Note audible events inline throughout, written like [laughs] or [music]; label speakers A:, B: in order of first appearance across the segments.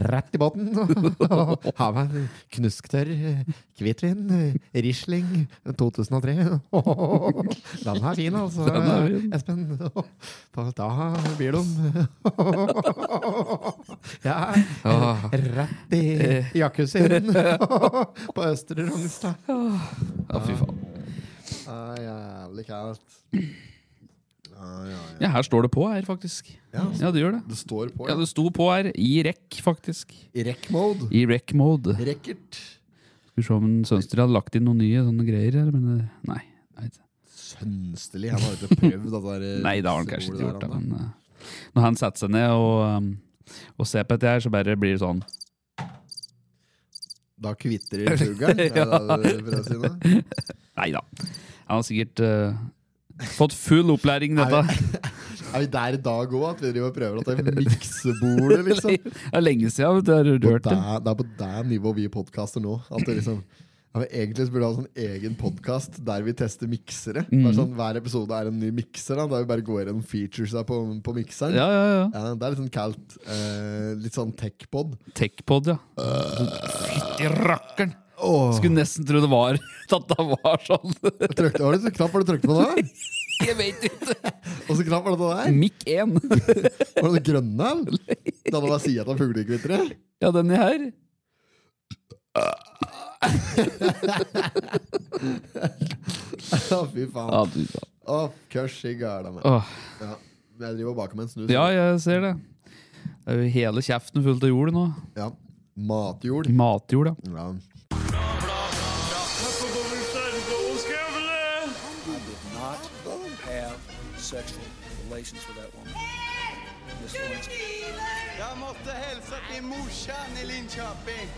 A: Rett i båten. Ha meg en knusktørr hvitvin. Riesling 2003. Den er fin, altså.
B: Den er fin.
A: Espen. Da blir de Ja,
B: Ah.
A: rett i jacuzzien på Østre Rognstad.
B: Ja, fy faen.
C: Ah, jævlig kaldt. Ah, ja, ja.
B: Ja, her står det på her, faktisk.
C: Ja, s-
B: Ja, det gjør det.
C: det står på.
B: Ja,
C: Ja.
B: det sto på her. I rekk, faktisk.
C: I rekk-mode.
B: I rekk-mode.
C: Rekkert.
B: Skal vi se om Sønster hadde lagt inn noen nye sånne greier her, men eh, nei. Nei,
C: Sønsterlig. Han har ikke prøvd dette der, eh,
B: [laughs] nei det har han kanskje
C: ordet
B: ikke
C: der,
B: gjort. da,
C: han, da.
B: Men eh, når han setter seg ned og, eh, og ser på dette her, så bare blir det sånn
C: Da kvitrer
B: [laughs]
C: fuglen, er det det du prøver å si nå?
B: Nei da. Han har sikkert eh, fått full opplæring, i dette.
C: Er vi der i dag òg, at vi driver og prøver at det er miksebordet, liksom?
B: [laughs] [laughs] Det er lenge siden vet du, har du
C: På
B: hørt det.
C: det, det er på det nivået vi podkaster nå. At det liksom ja, men Egentlig så burde vi ha en sånn egen podkast der vi tester miksere.
B: Mm.
C: Bare sånn, hver episode er en ny mikser, da, der vi bare går gjennom featuresa på, på mikseren.
B: Ja, ja, ja.
C: Ja, det er litt sånn kaldt. Eh, litt sånn tech-pod.
B: Techpod, ja. Fytti rakkeren! Skulle nesten tro det var [laughs] at det var sånn.
C: Jeg trykte- Var det så knapp var det du trykte på da?
B: [laughs] Jeg vet ikke.
C: Og så knapp var det der?
B: Mic 1.
C: Var det det grønne? eller? Da hadde bare sida av fuglekvitteret?
B: Ja, den er her.
C: Ja, fy faen.
B: Ja, du, da.
C: Å, kørs i gæla meg.
B: Åh.
C: Ja. Jeg driver og baker med en snus.
B: ja, jeg ser det. Det er jo hele kjeften fullt av jord nå.
C: Ja. Matjord.
B: Matjord, ja.
C: Ja.
D: have sexual relations with that woman. Miss Lewinsky.
E: Jeg måtte hilse til morsan i Linköping.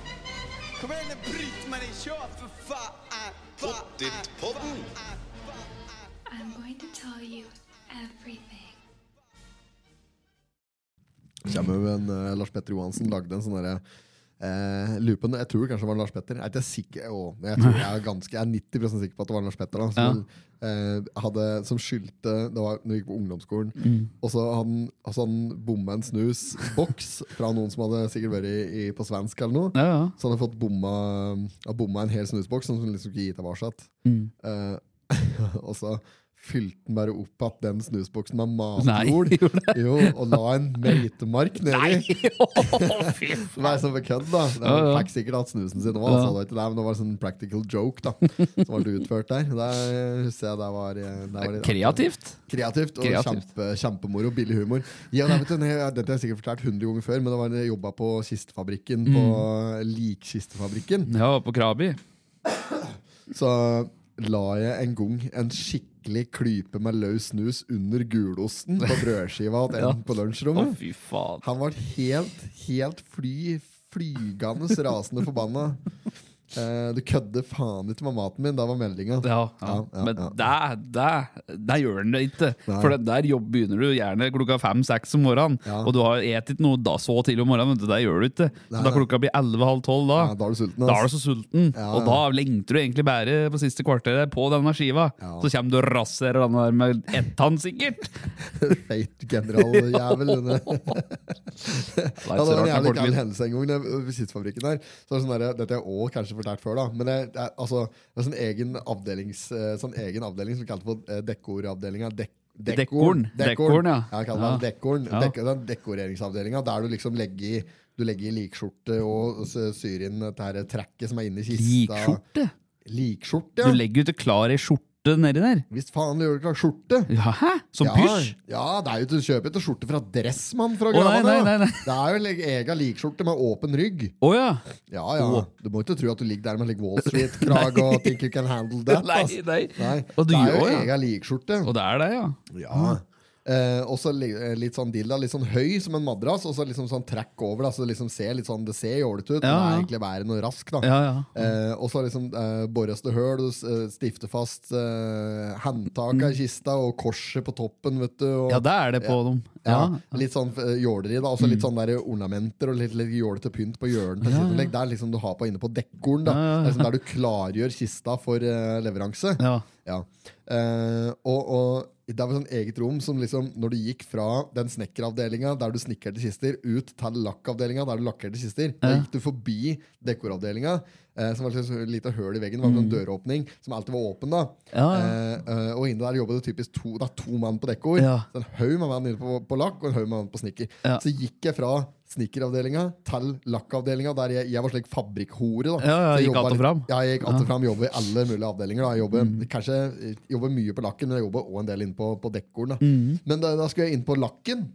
E: Kom igjen, Britt-Marie, kjør, for faen! Pottitpodden!
F: I'm going to tell you everything.
C: Kjemmer med en eh, Lars Petter Johansen lagde en sånn derre eh, lupen, Jeg tror kanskje det var Lars Petter. Jeg er ikke sikker å, men jeg, tror jeg, er ganske, jeg er 90 sikker på at det var Lars Petter. Da, som, eh, hadde, som skyldte Det var når vi gikk på ungdomsskolen.
B: Mm.
C: Og så han, altså han bomma en snusboks fra noen som hadde sikkert vært i, i, på svensk eller noe.
B: Ja, ja.
C: Så han hadde fått bomma, hadde bomma en hel snusboks som han liksom ikke gitt tilbake.
B: Mm.
C: Eh, [laughs] og så fylte han bare opp at den snusboksen med
B: Nei, [laughs]
C: matjord. Jo, og la en meitemark nedi.
B: [laughs]
C: Det var sånn for kødd, da. Det var,
B: Ja, ja.
C: fikk sikkert hatt snusen sin òg, altså, det var ikke det, men det var en sånn practical joke da som ble utført der. Der husker jeg det var, eh, det var litt-
B: Kreativt.
C: Kreativt og
B: Kreativt.
C: Kjempe, kjempemoro. Billig humor. Ja, nei, vet du, nei, dette har jeg sikkert fortalt 100 ganger før, men det var da jeg jobba på kistefabrikken. På
B: Mm.
C: Likkistefabrikken.
B: Ja, på Krabi.
C: Så la jeg en gang en skikkelig klype med løs snus under gulosten på
B: [laughs]
C: brødskiva til en på
B: Å,
C: lunsjrommet.
B: fy faen.
C: Han var helt, helt fly, flygende rasende forbanna. Eh, du kødder faen ikke med maten min. Da var meldinga.
B: Ja, ja.
C: Ja, ja,
B: men
C: ja.
B: der, der, der gjør den det ikke.
C: Nei.
B: For det der jobb begynner du gjerne klokka fem-seks om morgenen.
C: Ja.
B: Og du har et ikke noe da så tidlig om morgenen, men det der gjør du ikke.
C: Nei,
B: Så da
C: nei.
B: klokka blir elleve-halv tolv, da,
C: Ja, da er du sulten.
B: da er
C: ass.
B: du så sulten.
C: Ja,
B: Og da lengter du egentlig bare på siste kvarteret på denne skiva.
C: Ja.
B: Så kommer du og raserer den der med ett tann, sikkert.
C: Feit
B: [laughs]
C: generaljævel. denne. Ja,
B: Det
C: det
B: er så
C: var en jævlig
B: rart med
C: gæren
B: kortbil.
C: hendelse en gang nede ved Visitfabrikken der. Så er det sånn der, Dette har jeg også kanskje fortalt før, da. Men det, det, er, altså, det er sånn egen, avdelings, eh, sånn egen avdeling som vi kalte for eh, dekoravdelinga. Dek
B: Dekoren. Dekoren, ja.
C: Jeg kaller det
B: Ja.
C: dekoren.
B: Ja.
C: Dek den dekoreringsavdelinga der du liksom legger i du legger i likskjorte og s- syr inn dette her trekket som er inni kista.
B: Likskjorte?
C: Likskjorte,
B: Du
C: ja.
B: legger jo ikke klar ei skjorte nedi der.
C: Hvis faen du gjør det klart skjorte.
B: Ja, hæ? Som
C: Ja,
B: pysj?
C: ja, det er jo til du kjøper ikke skjorte fra Dressmann fra
B: Å, nei,
C: Gravane,
B: nei, nei, nei.
C: Det er jo en leg- egen likskjorte med åpen rygg.
B: Å ja.
C: Ja, ja. Du må ikke tro at du ligger der med like Wall
B: [laughs]
C: Street-krag og think you can handle that.
B: Nei,
C: ass.
B: nei.
C: Nei.
B: Og du
C: det er jo
B: gjør også, ja.
C: egen likskjorte.
B: Og det er det, ja.
C: Ja. Eh, og så li- eh, litt sånn dilla, litt sånn høy som en madrass, og så liksom sånn trekk over. Da, så det liksom ser litt sånn, det ser jålete ut, men det
B: Ja,
C: er
B: ja.
C: egentlig bare noe rask. da
B: Ja, ja.
C: Eh, og så liksom eh, borres det høl, du s- eh, stifter
B: Mm.
C: fast eh, håndtaket i kista og korset på toppen, vet du. Og,
B: Ja, det er det på dem.
C: Ja, litt sånn eh, jåleri, da. Også litt sånn der ornamenter og litt, litt jålete pynt på hjørnet. til sitt anlegg. Det er liksom du har på inne på dekkorden. da. Det er liksom der du klargjør kista for eh, leveranse.
B: Ja.
C: Ja. Eh, og, og det er vel sånn eget rom som liksom, når du gikk fra den snekkeravdelinga der du snekkerte kister, ut til lakkavdelinga der du lakkerte kister, da gikk du forbi dekoravdelinga, eh, som var liksom et lite høl i veggen, det var en sånn døråpning som alltid var åpen. da.
B: Mm. Ja,
C: Eh, eh, og inne der jobba det typisk to, det er to mann på dekkord.
B: Ja.
C: Så En haug med mann inne på, på lakk og en haug med mann på snekker.
B: Ja.
C: Så gikk jeg fra snekkeravdelinga til lakkavdelinga, der jeg, jeg var slik fabrikkhore. da.
B: Ja, ja,
C: Så jeg
B: gikk
C: jobbet
B: alt og
C: litt-
B: fram. Mm.
C: Ja, jeg gikk alltid fram, jobber i alle mulige avdelinger. Da. Jeg jobber, kanskje, eh, jobber mye på lakken, men jeg jobber også en del inn på, på dekkorden. Da.
B: Mm.
C: Men da, da skulle jeg inn på lakken,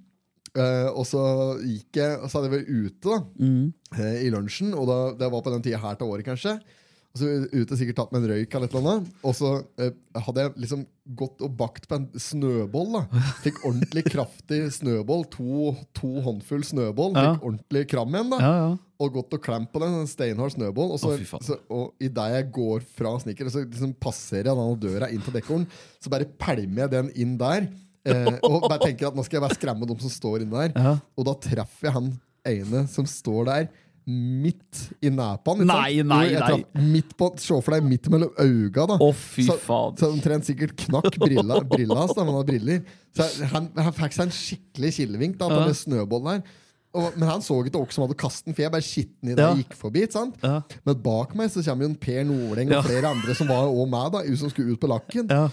C: eh, og så gikk jeg, og så hadde jeg vært ute da,
B: Mm.
C: eh, i lunsjen, og da, det var på den tida her til året kanskje, og så ute sikkert tatt med en røyk eller et eller annet, og så eh, hadde jeg liksom gått og bakt på en snøboll da. Fikk ordentlig kraftig snøboll, to, to håndfull snøboll,
B: Ja.
C: fikk ordentlig kram igjen da
B: ja, ja.
C: og gått og klemt på den, en steinhard snøball. Og, så,
B: Å, fy faen.
C: så, og i det jeg går fra snekker, så liksom passerer jeg den døra inn til dekkorden, så bare pælmer jeg den inn der. Eh,
B: [laughs]
C: og bare tenker at nå skal jeg bare skremme dem som står inne der.
B: Ja.
C: Og da treffer jeg han ene som står der. Midt i nepan. ikke sant?
B: Nei, nei,
C: Jo, jeg
B: nei.
C: traff Midt på, Se for deg midt mellom øynene. da.
B: Å, fy
C: så,
B: fader.
C: så omtrent sikkert knakk brilla, brilla hans, da, men han har briller. Så jeg- han, han fikk seg en skikkelig kilevink da, på den snøbollen her. Og, men han så ikke åk som hadde kasten, for jeg bare skitten i det
B: Ja.
C: jeg gikk forbi. ikke sant?
B: Ja.
C: Men bak meg så kommer jo en Per Nordeng og
B: Ja.
C: flere andre som var også meg, da, som skulle ut på lakken.
B: Ja.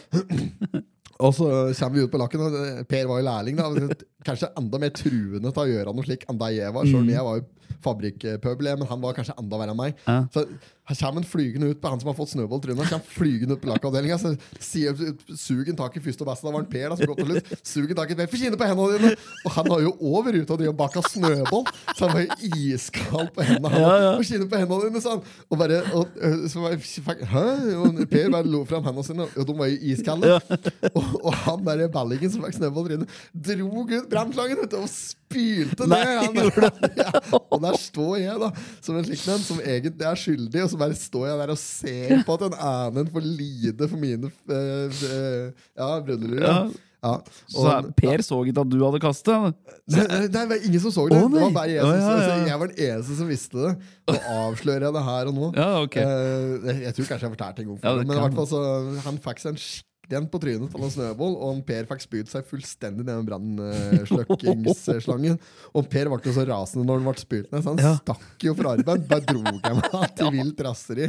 C: Og så kommer vi ut på lakken, og eh, Per var jo lærling. da, Kanskje enda mer truende til å gjøre noe slik enn det jeg var.
B: Mm.
C: Selv om jeg var jo fabrikkpøbel, men han var kanskje enda verre enn meg.
B: Ja.
C: Så her kommer han flygende ut på han som har fått snøball i trynet. kommer flygende ut på lakkavdelinga, så sier sugen tak i første og beste. Da var han Per da, som kom til slutt. Sugen tak i Per, få kinne på hendene dine! Og han var jo over ute og drev og baka snøball, så han var jo iskald på hendene. Han,
B: Ja, ja.
C: «Få kinne på hendene dine, sa han. Og bare, og, øh, så var jeg, fuck, hæ? Og Per bare lo fram hendene sine, og de var jo iskalde. Og, og han der ballingen som fikk snøball i trynet, dro ut brannslangen vet du, og spylte ned.
B: Nei,
C: Han, [laughs] ja, og der står jeg, da, som en slik en som egentlig er skyldig, og så bare står jeg der og ser på at en annen får lide for mine øh, øh, ja, brødre. Ja.
B: Ja.
C: Ja.
B: Så
C: og-
B: Per så ikke at du hadde kastet?
C: Nei, nei, det var ingen som så det.
B: Å,
C: det
B: nei.
C: var bare jeg, som,
B: Å, ja,
C: så
B: ja.
C: jeg var den eneste som visste det. Nå avslører jeg det her og nå.
B: Ja, ok.
C: Eh, jeg, jeg tror kanskje jeg fortalte en gang før,
B: Ja, det
C: men i
B: kan.
C: hvert fall så han fikk seg en skikkelig en på trynet av en snøball, og han Per fikk spydd seg fullstendig ned med brannsløkkingsslangen. eh, Og Per ble jo så rasende når han ble spydd ned, så han
B: Ja.
C: stakk jo fra arbeid. Bare dro jeg meg til vilt raseri.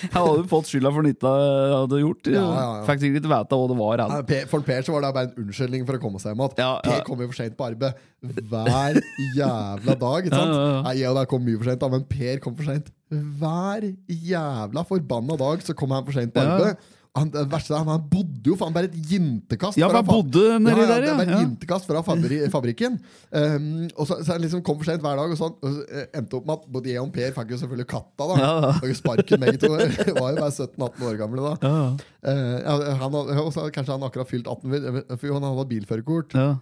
B: Jeg hadde fått skylda for nytta jeg hadde gjort.
C: Ja, ja, ja.
B: Fikk sikkert ikke vite hva det var.
C: Ja,
B: Han.
C: Per, for Per så var det bare en unnskyldning for å komme seg hjem igjen.
B: Ja, ja.
C: Per kom jo for seint på arbeid hver jævla dag. Ikke sant?
B: [laughs] Ja, ja, ja.
C: Nei, jeg og deg kom mye for sent, da, men Per kom for seint hver jævla forbanna dag. Så kom han for seint på
B: Ja.
C: arbeid. Han, det verste er, han bodde jo faen bare et jintekast
B: Ja, for han
C: fab-
B: bodde nedi der,
C: det
B: ja.
C: er bare et
B: Ja.
C: Jintekast fra fabri
B: [laughs]
C: fabrikken. Um, og så, så han liksom kom for sent hver dag, og så og så, eh, endte opp med at både jeg og Per fikk jo selvfølgelig katta. da
B: Ja, ja.
C: Fikk jo Sparken begge to. [laughs] Var jo bare 17-18 år gamle da.
B: Ja,
C: Eh, ja, han, hadde- og så hadde- kanskje han akkurat fylt 18, vel, for jo, han hadde bilførerkort.
B: ja.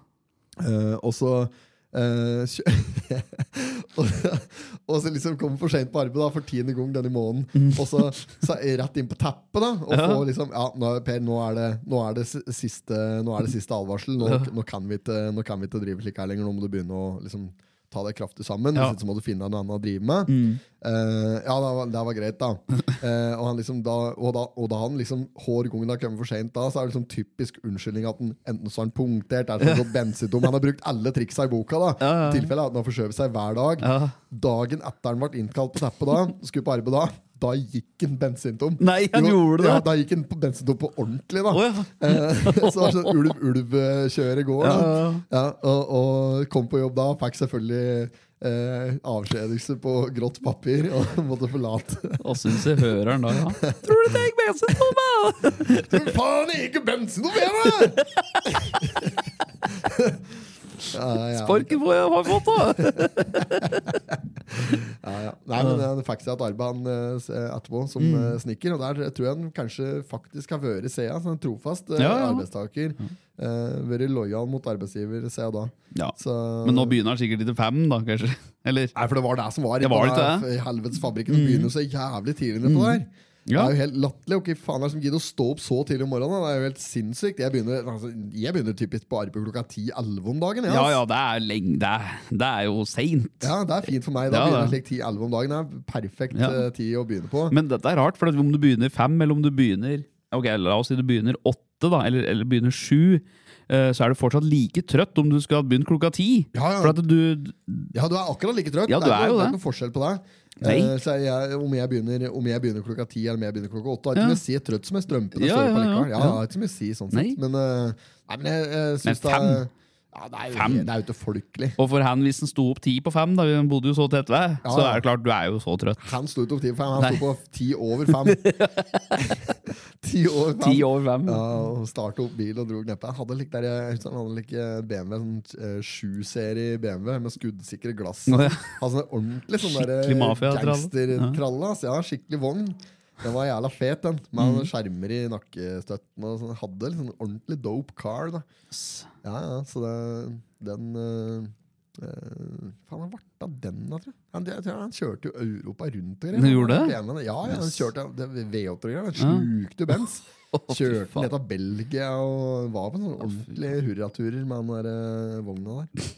C: Eh, og så eh, kjø- [laughs] og, og så liksom kom for sent på arbeid da, for tiende gang denne måneden. Og så, så er jeg rett inn på teppet. da Og
B: Mm. Ja.
C: få liksom Ja, nå, er- Per, nå er, det, nå, er det s- siste, nå er det siste advarsel. Nå, nå, kan vi ikke, nå kan vi ikke drive slik her lenger. Nå må du begynne å liksom ta deg kraftig sammen.
B: Ja. Mm.
C: Hvis ikke så må du finne deg noe annet å drive med. Eh, ja, det var, det var greit,
B: [laughs]
C: da. Eh, og, han liksom da, og, da og da han liksom hver gang det har kommet for sent, da, så er det liksom typisk unnskyldning at han enten så har han punktert, er det så godt bensintom Han har brukt alle triksa i boka, da.
B: Ja, ja, ja.
C: I tilfelle at han har forskjøvet seg hver dag.
B: Ja.
C: Dagen etter han ble innkalt på teppet, da, skulle på arbeid da, da gikk han bensintom.
B: Nei, han
C: Jo,
B: gjorde det.
C: Ja, da gikk han på bensintom på ordentlig, da.
B: Å, ja.
C: Eh, [laughs] så var det sånn ulv-ulv-kjøret går. Da.
B: Ja,
C: Ja,
B: ja,
C: og, og kom på jobb da, fikk selvfølgelig eh, avskjedelse på grått papir [laughs] og måtte forlate.
B: Hva syns jeg hører han da? Ja. [laughs] Tror du det gikk med seg, Thomas?
C: Men faen, jeg ikke bensin noe mer! da! [laughs] ja,
B: [laughs]
C: ja,
B: Sparken får jeg har fått, da!
C: ja, ja. Nei, men Han fikk seg et arbeid han, eh, s- etterpå som
B: Mm.
C: eh, snekker, og der tror jeg han kanskje faktisk har vært siden. Så en trofast eh,
B: Ja, ja. Mm.
C: arbeidstaker. Eh, vært lojal mot arbeidsgiver siden da.
B: Ja.
C: Så-
B: Men nå begynner han sikkert i til fem, da, kanskje? Eller?
C: Nei, for det var det som var.
B: Det var
C: på
B: litt
C: den her Helvetes fabrikken Det begynner jo så jævlig tidlig på der.
B: Ja.
C: Det er jo helt latterlig. Og ikke faen er det som gidder å stå opp så tidlig om morgenen. Det er jo helt sinnssykt. Jeg begynner, altså, jeg begynner typisk på arbeid klokka 10-11 om dagen. jeg,
B: Ja,
C: ass.
B: ja, det er lenge. Det er, det er jo seint.
C: Ja, det er fint for meg. Da
B: Ja,
C: begynner
B: det.
C: slik 10-11 om dagen. Det er perfekt
B: Ja.
C: eh, tid å begynne på.
B: Men dette er rart, for at om du begynner fem, eller om du begynner Ok, la oss si du begynner åtte, da, eller, eller begynner sju, eh, så er du fortsatt like trøtt om du skal ha begynt klokka ti.
C: Ja, ja.
B: For at du
C: Ja, du er akkurat like trøtt.
B: Ja, du
C: det,
B: er
C: er
B: jo
C: ikke- det er
B: det.
C: ikke noe forskjell på deg.
B: Nei.
C: Eh, så jeg, om, jeg begynner, om jeg begynner klokka ti eller om jeg begynner klokka åtte, har ikke
B: Ja.
C: noe å si trøtt som jeg strømpene
B: Ja,
C: står på
B: ja, ja.
C: likevel. Ja, det har ikke så mye å si sånn
B: Nei.
C: sett. Men, eh, nei, men jeg, jeg
B: Men
C: syns det er
B: fem?
C: ja, det er,
B: Fem?
C: jo, det er jo ikke folkelig.
B: Og for han, hvis han sto opp ti på fem, da vi bodde jo så tett ved,
C: Ja,
B: så
C: ja.
B: er det klart, du er jo så trøtt.
C: Han sto ikke på ti på fem, han
B: Nei.
C: sto på ti over
B: [laughs]
C: fem. ti over fem.
B: Ti over fem.
C: Ja, og starta opp bil og dro neppe. Han hadde lik, der, jeg husker han hadde lik eh, BMW, sånn eh, 7-serie BMW med skuddsikre glass.
B: Å, ja.
C: Han sånn ordentlig sånn der,
B: Skikkelig mafia-tralle.
C: gangstertralle. ass. Ja, skikkelig vogn. Den var jævla fet, den.
B: Mm.
C: Med skjermer i nakkestøtten. Og sånn. Hadde liksom en ordentlig dope car. da Ja, ja, så det, den eh, eh, Faen, han varta den, da, tror jeg. Han, jeg tror han kjørte jo Europa rundt og greier.
B: Han gjorde det?
C: BMW -en. Ja, ja, han
B: Yes.
C: kjørte det var V8 og greier. Han slukte bens.
B: [laughs]
C: Kjørte
B: faen.
C: ned til Belgia og var på sånne ordentlige hurraturer med den der eh, vogna der.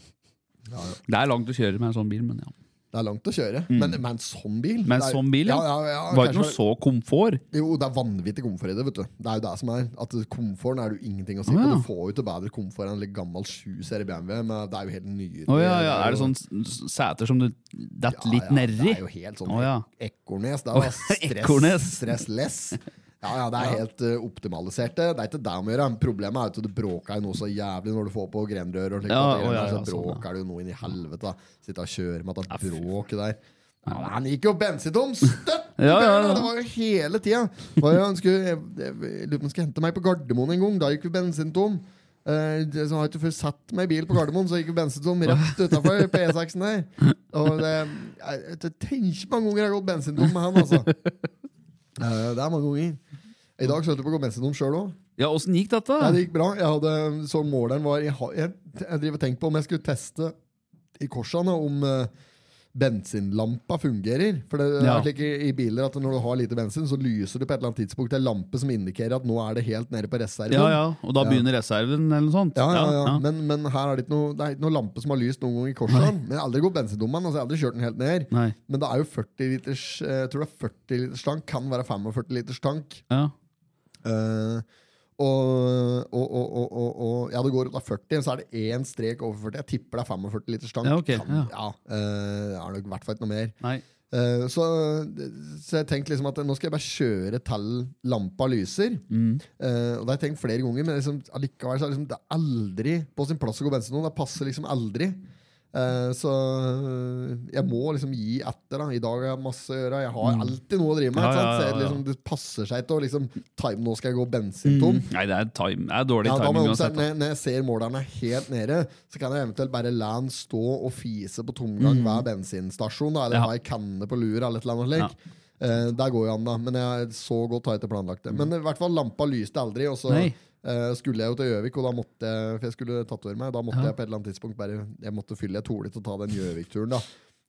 B: Det er langt å kjøre med en sånn bil, men ja.
C: Det er langt å kjøre, men med en sånn bil
B: Mm. Med en
C: det er-
B: sånn bil, ja.
C: ja, ja, ja
B: Var ikke
C: kanskje
B: noe sånn- så komfort.
C: det- Jo, det er vanvittig komfort i det, vet du. Det er jo det som er. At komforten er det jo ingenting å si på.
B: Å, ja.
C: Du får jo ikke bedre komfort enn en litt gammel 7-serie BMW, men det er jo helt nydelig.
B: Å ja, ja.
C: Det
B: Er det
C: jo-
B: sånn s- seter som du detter
C: Ja,
B: litt
C: ja,
B: nedi?
C: Det er jo helt sånn
B: Å, ja.
C: ekornes. Det er
B: [laughs]
C: jo stress,
B: Ekornes.
C: stressless. Ja, ja, det er helt eh, optimalisert. Det Det er ikke det om å gjøre. Problemet er jo at du bråker jo noe så jævlig når du får på grenrør. Og slik,
B: Ja,
C: og det
B: å, ja,
C: greiene der,
B: ja,
C: så
B: sånn, ja.
C: bråker det jo noe inn i helvete. da. Sitte og kjøre med at
B: Ja, fy
C: det er bråk der. Ja, men han gikk jo
B: [laughs]
C: bensintom støtt!
B: Ja, ja, ja.
C: Det var jo hele tida. Var jo- Han skulle, jeg, jeg, jeg lurer på om han skulle hente meg på Gardermoen en gang. Da gikk jo bensintom. Eh, det- så har jeg ikke før satt meg i bil på Gardermoen, så gikk jo bensintom rett
B: [laughs]
C: utafor P6-en der. Og det, jeg, jeg, jeg tenker mange ganger jeg har gått bensintom med han, altså.
B: [laughs]
C: Eh, det er mange ganger. I dag så holdt jeg på å gå bensintom sjøl òg.
B: Ja, åssen gikk dette?
C: Nei, det gikk bra. Jeg hadde, så måleren var Jeg, har- jeg, jeg driver og tenker på om jeg skulle teste i korsene om eh, bensinlampa fungerer. For det
B: Ja.
C: er slik i, i biler at når du har lite bensin, så lyser du på et eller annet tidspunkt en lampe som indikerer at nå er det helt nede på reserven.
B: Ja, ja. Og da
C: sånn. Ja.
B: begynner reserven, eller noe sånt?
C: Ja, ja, ja.
B: ja.
C: Men, men her er det ikke noe, det er ikke noe lampe som har lyst noen gang i korsene. Men jeg har aldri gått bensindommen, altså jeg har aldri kjørt den helt ned.
B: Nei.
C: Men det er jo 40 liters, eh, jeg tror det er 40 liters tank, kan være 45 liters tank.
B: Ja.
C: Eh, og, og, og, og, og, og Ja, det går ut av 40, så er det én strek over 40. Jeg tipper det er 45 liters tank.
B: Ja, ok,
C: Kan-
B: ja.
C: eh, det er nok i hvert fall ikke noe mer.
B: Nei.
C: Eh, så, så jeg tenkte liksom at nå skal jeg bare kjøre til lampa lyser.
B: Mm.
C: Eh, og det har jeg tenkt flere ganger, men liksom, allikevel så er det, liksom, det er aldri på sin plass å gå bensin nå. Det passer liksom aldri. Eh, så jeg må liksom gi etter. da I dag har jeg masse å gjøre. Jeg har alltid noe å drive med.
B: Mm. Ja,
C: ikke sant? Så
B: ja, ja,
C: jeg,
B: ja.
C: liksom, det passer seg ikke å liksom, time nå skal jeg gå bensintom.
B: Nei, det er, time. det er dårlig
C: Ja, da må
B: timing
C: jeg
B: uansett.
C: omsette,
B: da.
C: når, når jeg ser målerne helt nede, så kan jeg eventuelt bare la den stå og fise på tomgang hver bensinstasjon. Da, eller
B: Mm. Ja.
C: ha ei kanne på lur eller et eller annet slik. Eh, der går jo an, da. Men jeg så godt har jeg ikke planlagt det. Men i hvert fall lampa lyste aldri, og så
B: Mm. Nei.
C: eh, skulle jeg jo til Gjøvik, og da måtte jeg, for jeg skulle tatovere meg, da måtte
B: Ja.
C: jeg på et eller annet tidspunkt bare Jeg måtte fylle et hole til å ta den Gjøvik-turen, da.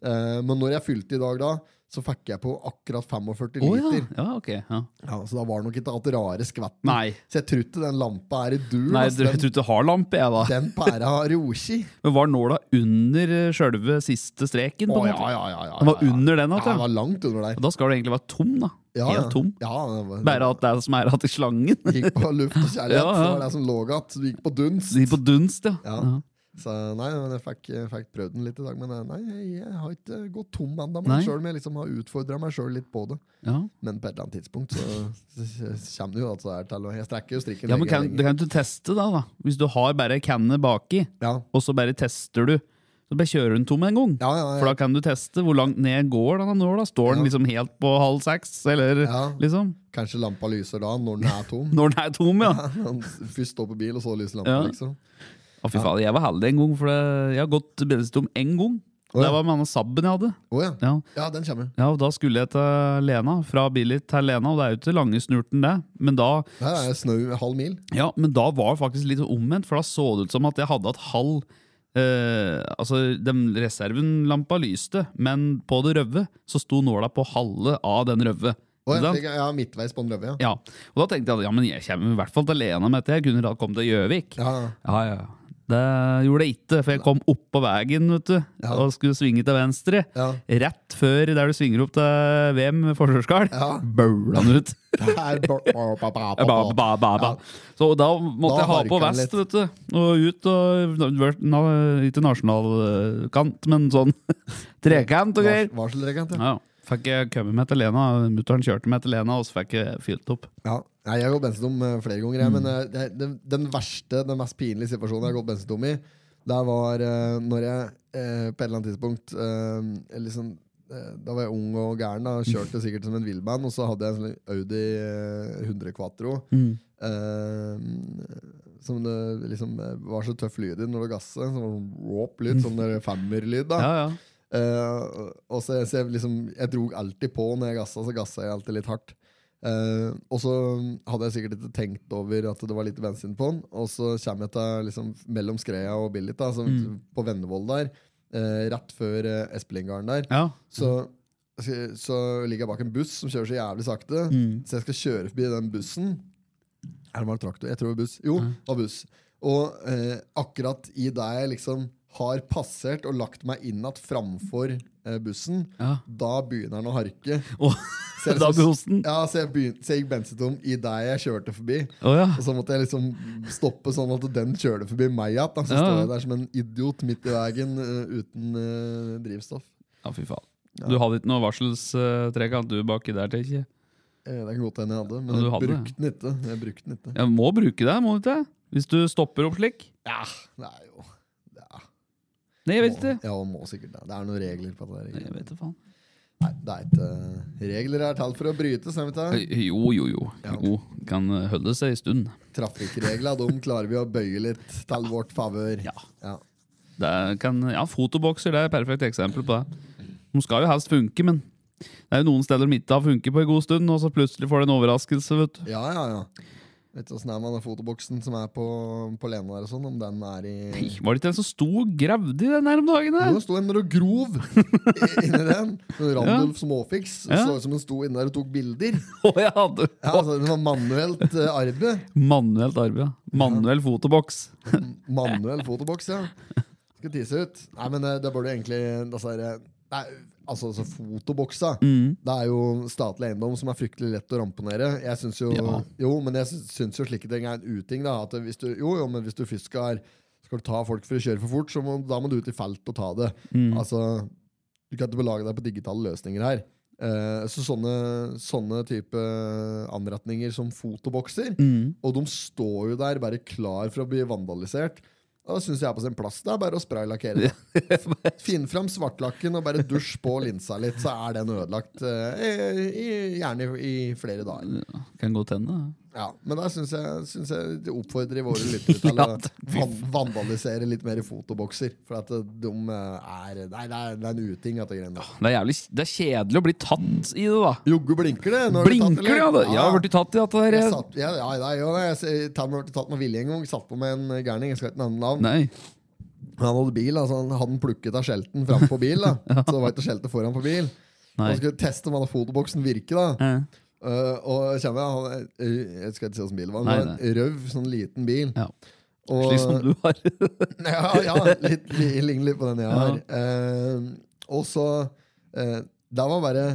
C: Eh, men når jeg fylte i dag, da, så fikk jeg på akkurat 45
B: Å ja.
C: liter.
B: ja, ok. Ja.
C: Ja, så da var det nok ikke alt det rare skvetten.
B: Nei,
C: Så jeg tror ikke den lampa er i dur.
B: Nei
C: ass.
B: jeg tror
C: Den-
B: jeg tror ikke det har lampe, jeg, da.
C: [laughs] den pæra har roski.
B: Men var nåla under eh, sjølve siste streken? på en måte? Den var under den,
C: Ja,
B: vet
C: den
B: du.
C: var langt under der.
B: Og Da skal du egentlig være tom, da.
C: Ja, ja.
B: Helt tom.
C: Ja, den var,
B: Bare at det er som er at i slangen.
C: [laughs] Gikk på luft og kjærlighet,
B: Ja, ja.
C: så var det som lå igjen. Du gikk på dunst.
B: [laughs] De på dunst, ja.
C: Ja. Så nei, men jeg fikk, jeg fikk prøvd den litt i dag, men eh, nei, jeg- jeg har ikke gått tom ennå.
B: Nei.
C: Sjøl om jeg liksom har utfordra meg sjøl litt på det.
B: ja.
C: Men på et eller annet tidspunkt så, så, så kommer det jo altså her til å Jeg strekker jo strikken
B: ja
C: lenger
B: men
C: og
B: kan, du
C: lenger.
B: kan jo teste, da, da. Hvis du har bare cannet baki,
C: Ja.
B: og så bare tester du. Så bare kjører hun tom en gang.
C: Ja, ja, ja.
B: For da kan du teste hvor langt ned går denne nåla. Står
C: Ja.
B: den liksom helt på halv seks, eller
C: Ja.
B: liksom?
C: Kanskje lampa lyser da, når den er
B: [laughs]
C: tom.
B: Når den er tom, ja.
C: Han Først står på bil, og så lyser lampa,
B: Ja.
C: liksom.
B: Å, fy faen, jeg var heldig en gang, for det- jeg har gått bensinstom én gang.
C: Å, ja.
B: Det var med denne sabben jeg hadde.
C: Å ja.
B: Ja.
C: ja, den kommer.
B: Ja, og Da skulle jeg til Lena, fra Billy til Lena, og det er jo ikke lange snurten, det. Men da,
C: Her er det snau halv mil.
B: ja, men da var det faktisk litt omvendt, for da så det ut som at jeg hadde hatt halv eh, Altså, den reservenlampa lyste, men på det røve så sto nåla på halve av den røve.
C: Å, ja,
B: Ikke sant?
C: tenker jeg- ja, midtveis på en løve, ja.
B: Ja, og da tenkte jeg at ja, men jeg kommer i hvert fall til Lena med dette. Jeg kunne da komme til Gjøvik.
C: Ja,
B: [laughs]
C: ja.
B: Ja, ja. Det gjorde jeg ikke, for jeg kom oppå veien vet du,
C: Ja.
B: og skulle svinge til venstre.
C: Ja.
B: Rett før der du svinger opp til VM forsvarsgard.
C: Ja.
B: Baula han ut.
C: Det er ba- ba- ba- ba-
B: Ba,
C: ba- ba.
B: ba, ba, ba. Så da
C: Da
B: måtte jeg ha
C: harka
B: på
C: han
B: vest,
C: litt.
B: vet du. Og ut og vært- na, Ikke nasjonalkant, men sånn [laughs] trekant og greier.
C: Vars- Varselregent, ja.
B: Ja, fikk jeg kommet med til Lena. Mutter'n kjørte meg til Lena, og så fikk jeg fylt opp.
C: Ja. Nei, Jeg har gått bensintom eh, flere ganger, jeg, men eh, det, den, den verste, den mest pinlige situasjonen jeg har gått bensintom i, det var eh, når jeg eh, på et eller annet tidspunkt eh, liksom, eh, Da var jeg ung og gæren og kjørte sikkert som en villmann, og så hadde jeg en sånn Audi eh, 100 Quatro. eh, som det liksom eh, var så tøff lyd i når det gasset. Sånn wop-lyd, sånn der femmerlyd. da
B: Ja, ja.
C: Eh, og så, så jeg, liksom, jeg drog alltid på når jeg gassa, så gassa jeg alltid litt hardt. Eh, og så hadde jeg sikkert ikke tenkt over at det var litt bensin på den. Og så kommer jeg til liksom, mellom Skreia og Billit, da, som, på Vennevoll der, eh, rett før uh, Espelingarden der.
B: ja.
C: Så, så- så ligger jeg bak en buss som kjører så jævlig sakte.
B: Mm.
C: Så jeg skal kjøre forbi den bussen. Eller var det traktor? Jeg tror det var buss. Jo, det var buss. Og eh, akkurat i det jeg liksom har passert og lagt meg inn igjen framfor eh, bussen,
B: Ja.
C: da begynner den å harke.
B: Og
C: Så jeg
B: [laughs] da
C: liksom-
B: blir hosten.
C: Ja, så jeg, begynte, så jeg gikk bensintom i det jeg kjørte forbi.
B: Å ja.
C: Og så måtte jeg liksom stoppe sånn at den kjørte forbi meg igjen. da. Så
B: Ja.
C: står jeg der som en idiot midt i veien eh, uten eh, drivstoff.
B: Ja, fy faen. Du hadde ikke noe varselstrekant du baki der, tenker jeg.
C: Eh, Det kan godt hende jeg hadde,
B: Ja,
C: men
B: du
C: jeg
B: hadde det.
C: brukte den ikke. Jeg brukte den ikke.
B: Jeg må bruke det, må du ikke? Hvis du stopper opp slik.
C: Ja, det er jo ja,
B: Nei, jeg vet
C: må,
B: ikke.
C: ja, må sikkert det. Det er noen regler på det.
B: Nei, Jeg
C: der.
B: vet ikke, faen.
C: Nei, det er ikke Regler er til for å brytes. er det ikke?
B: Jo, jo, jo. Jo, kan eh, holde seg en stund.
C: Trafikkregler de klarer vi å bøye litt til vårt favør.
B: Ja.
C: Ja.
B: Det er- kan, ja, fotobokser det er et perfekt eksempel på det. De skal jo helst funke, men det er jo noen steder de ikke har funket på en god stund, og så plutselig får du en overraskelse, vet du.
C: Ja, ja, ja. Vet du åssen det er med den fotoboksen som er på, på Lena der og sånn? Om den er i
B: Nei, Var det ikke en som sto og gravde i den her om dagen?
C: Jo,
B: her?
C: det sto en der og grov inni den. Sånn Randulf Småfiks.
B: Ja.
C: Så ut som hun sto inne der og tok bilder.
B: Å ja, du.
C: Ja, altså, det var manuelt eh, arbeid.
B: Manuelt arbeid. ja. Manuell fotoboks.
C: Manuell fotoboks, ja. Skal tise ut. Nei, men eh, det bør du egentlig altså, er, det- nei, altså, altså, fotoboksa Det er jo statlig eiendom som er fryktelig lett å ramponere. Jeg synes jo,
B: Ja.
C: jo, men jeg syns, syns jo slike ting er en uting. Da, at hvis du, jo, jo, men hvis du først skal, skal du ta folk for å kjøre for fort, så må, da må du ut i felt og ta det. Altså, du kan ikke belage deg på digitale løsninger her. Eh, så sånne, sånne type eh, anretninger som fotobokser, og de står jo der bare klar for å bli vandalisert, da syns jeg er på sin plass. Det er bare å spraylakkere.
B: [laughs]
C: Finn fram svartlakken og bare dusj på linsa litt, så er den ødelagt. eh, i, gjerne i, i flere dager.
B: Kan godt hende. ja.
C: Ja, men da syns jeg, synes jeg det oppfordrer våre lyttere til å
B: [laughs] Ja,
C: van vandalisere litt mer i fotobokser. For at eh, de er Nei, det er, det er en uting, dette greiene der.
B: Det er, jævlig, det er kjedelig å bli tatt i det, da.
C: Jogge blinker det. Nå har du tatt,
B: Blinker det,
C: eller? Ah.
B: ja! det. Jeg har blitt tatt i at det
C: Jeg
B: der
C: satt, ja, ja, det er jo det. Jeg ser- Tam ble tatt med vilje en gang. Satt på med en gærning. Jeg skal ikke nevne navn.
B: Nei.
C: Han hadde bil, altså han hadde den plukket av skjelten fram på bil.
B: [laughs]
C: Da. Så det var ikke skjeltet foran på bil.
B: Nei.
C: Han skulle teste om han hadde fotoboksen virke. da
B: Eh,
C: Eh, og kommer jeg, han, eh, jeg skal ikke si hvilken bil det var, men
B: Nei,
C: det var en røv, sånn liten bil.
B: Ja.
C: Og-
B: Slik som du har.
C: ja, ja litt, li, ligner litt på den jeg har. Eh, og så eh, Det var bare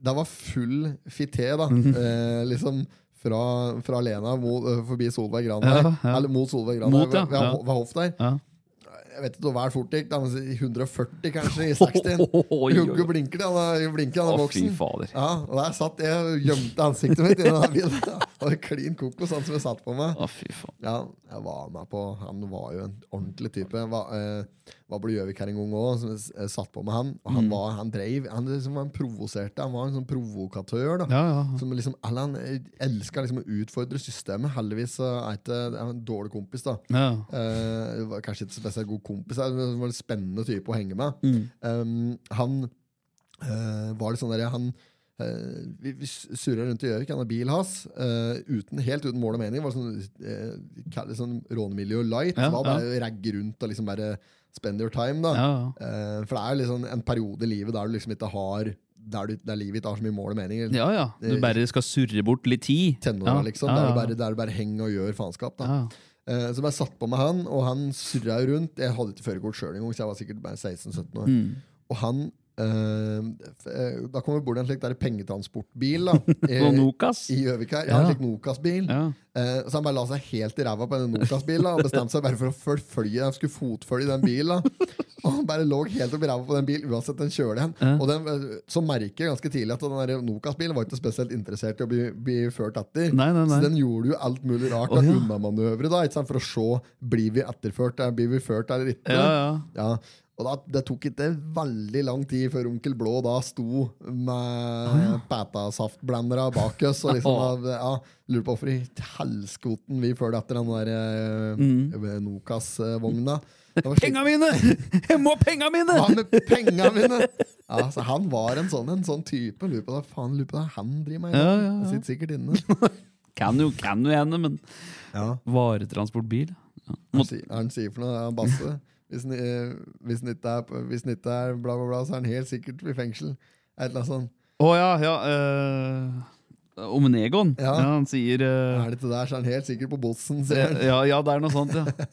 C: Det var full fité, da.
B: Mhm.
C: Eh, liksom fra, fra Lena mot, eh, forbi Solveig Gran der.
B: Ja, ja.
C: Eller mot Solveig Gran
B: Mot,
C: der,
B: ja,
C: ved, ved,
B: ja.
C: ved hoff der.
B: Ja.
C: Jeg vet ikke hvor fort det gikk. da, men si 140, kanskje, i 60.
B: [laughs] Oi, oi, oi.
C: Jogge blinker til han blinker han
B: Å,
C: er
B: fy
C: voksen.
B: fader.
C: Ja, og der satt jeg og gjemte ansiktet mitt i den bilen. [laughs] Det var klin kokos, han som jeg satt på meg.
B: Å, fy faen.
C: Ja, jeg var med på Han var jo en ordentlig type. Jeg var, eh, var på Gjøvik her en gang òg, som jeg s- eh, satt på med han. Og han var, han dreiv, han liksom var en provoserte. Han var en sånn provokatør. da
B: Ja, ja.
C: Som liksom, eller Han elska liksom å utfordre systemet. Heldigvis eh, er ikke jeg er en dårlig kompis, da.
B: ja.
C: Eh, var kanskje ikke så spesielt god kompis, men han var en spennende type å henge med.
B: Mm.
C: Um, han eh, var litt sånn der Han eh, vi, vi surra rundt i Gjøvik, han har bil hans, eh, uten, helt uten mål og mening. Var sånn, uh, kall det sånn rånemiljø light.
B: Ja,
C: var bare å ragge rundt og liksom bare spend your time, da.
B: Ja, ja.
C: sånn Eh, for det er jo liksom en periode i livet der du liksom ikke har der, du, der livet ditt har så mye mål og mening. eller
B: Ja, ja. Du bare skal surre bort litt tid.
C: tenåra,
B: ja.
C: liksom.
B: ja,
C: Der,
B: ja.
C: du bare, der du bare henger og gjør faenskap. Da.
B: Ja.
C: Eh, så ble jeg satt på med han, og han surra jo rundt. Jeg hadde ikke førerkort sjøl engang, så jeg var sikkert bare 16-17 år.
B: Mm.
C: Og han eh, f- eh, Da kom vi bort til en slik der pengetransportbil da, i,
B: [laughs] Og Nokas.
C: eh, i Gjøvik her. Ja, en
B: Ja.
C: slik Nokas-bil.
B: Ja.
C: Eh, så han bare la seg helt i ræva på den Nokas-bilen da, og bestemte seg bare for å forfølge Han skulle fotfølge den bilen. da. Og han bare lå helt oppi ræva på den bilen uansett den kjører hen. Og den, eh, så merker jeg ganske tidlig at den der Nokas-bilen var ikke spesielt interessert i å bli, bli ført etter.
B: Nei, nei, nei.
C: Så den gjorde jo alt mulig rart
B: Å,
C: av
B: ja.
C: unnamanøvre da, ikke sant, for å se blir vi etterført eh, blir vi ført eller ikke.
B: Ja, ja.
C: Ja, og da, Det tok ikke veldig lang tid før onkel Blå da sto med pætasaftblandere bak oss. og
B: [laughs]
C: liksom, ja, Lurer på hvorfor i helskoten vi følger etter den der
B: Mm.
C: eh, Nokas-vogna. Det var slik-
B: Penga mine! [laughs] Jeg må ha penga mine!
C: Hva med penga mine?! Ja, så Han var en sånn, en sånn type. Lurer på hva faen lurer på hva han driver med. i dag.
B: Ja, ja,
C: Han
B: ja.
C: sitter sikkert inne.
B: Kan jo, kan jo hende, men
C: Ja.
B: Varetransportbil? Ja.
C: Han sier, han sier for noe, han Basse. Hvis han, eh, hvis han ikke er, hvis han ikke er bla, bla, bla, så er han helt sikkert i fengsel. Et eller annet sånn. sånt.
B: Å ja, ja. eh, om en Egon. Ja.
C: Ja.
B: han sier eh,
C: Er det ikke der, så er han helt sikkert på botsen, sier han.
B: ja, ja, det er
C: [laughs]
B: noe sånt, ja.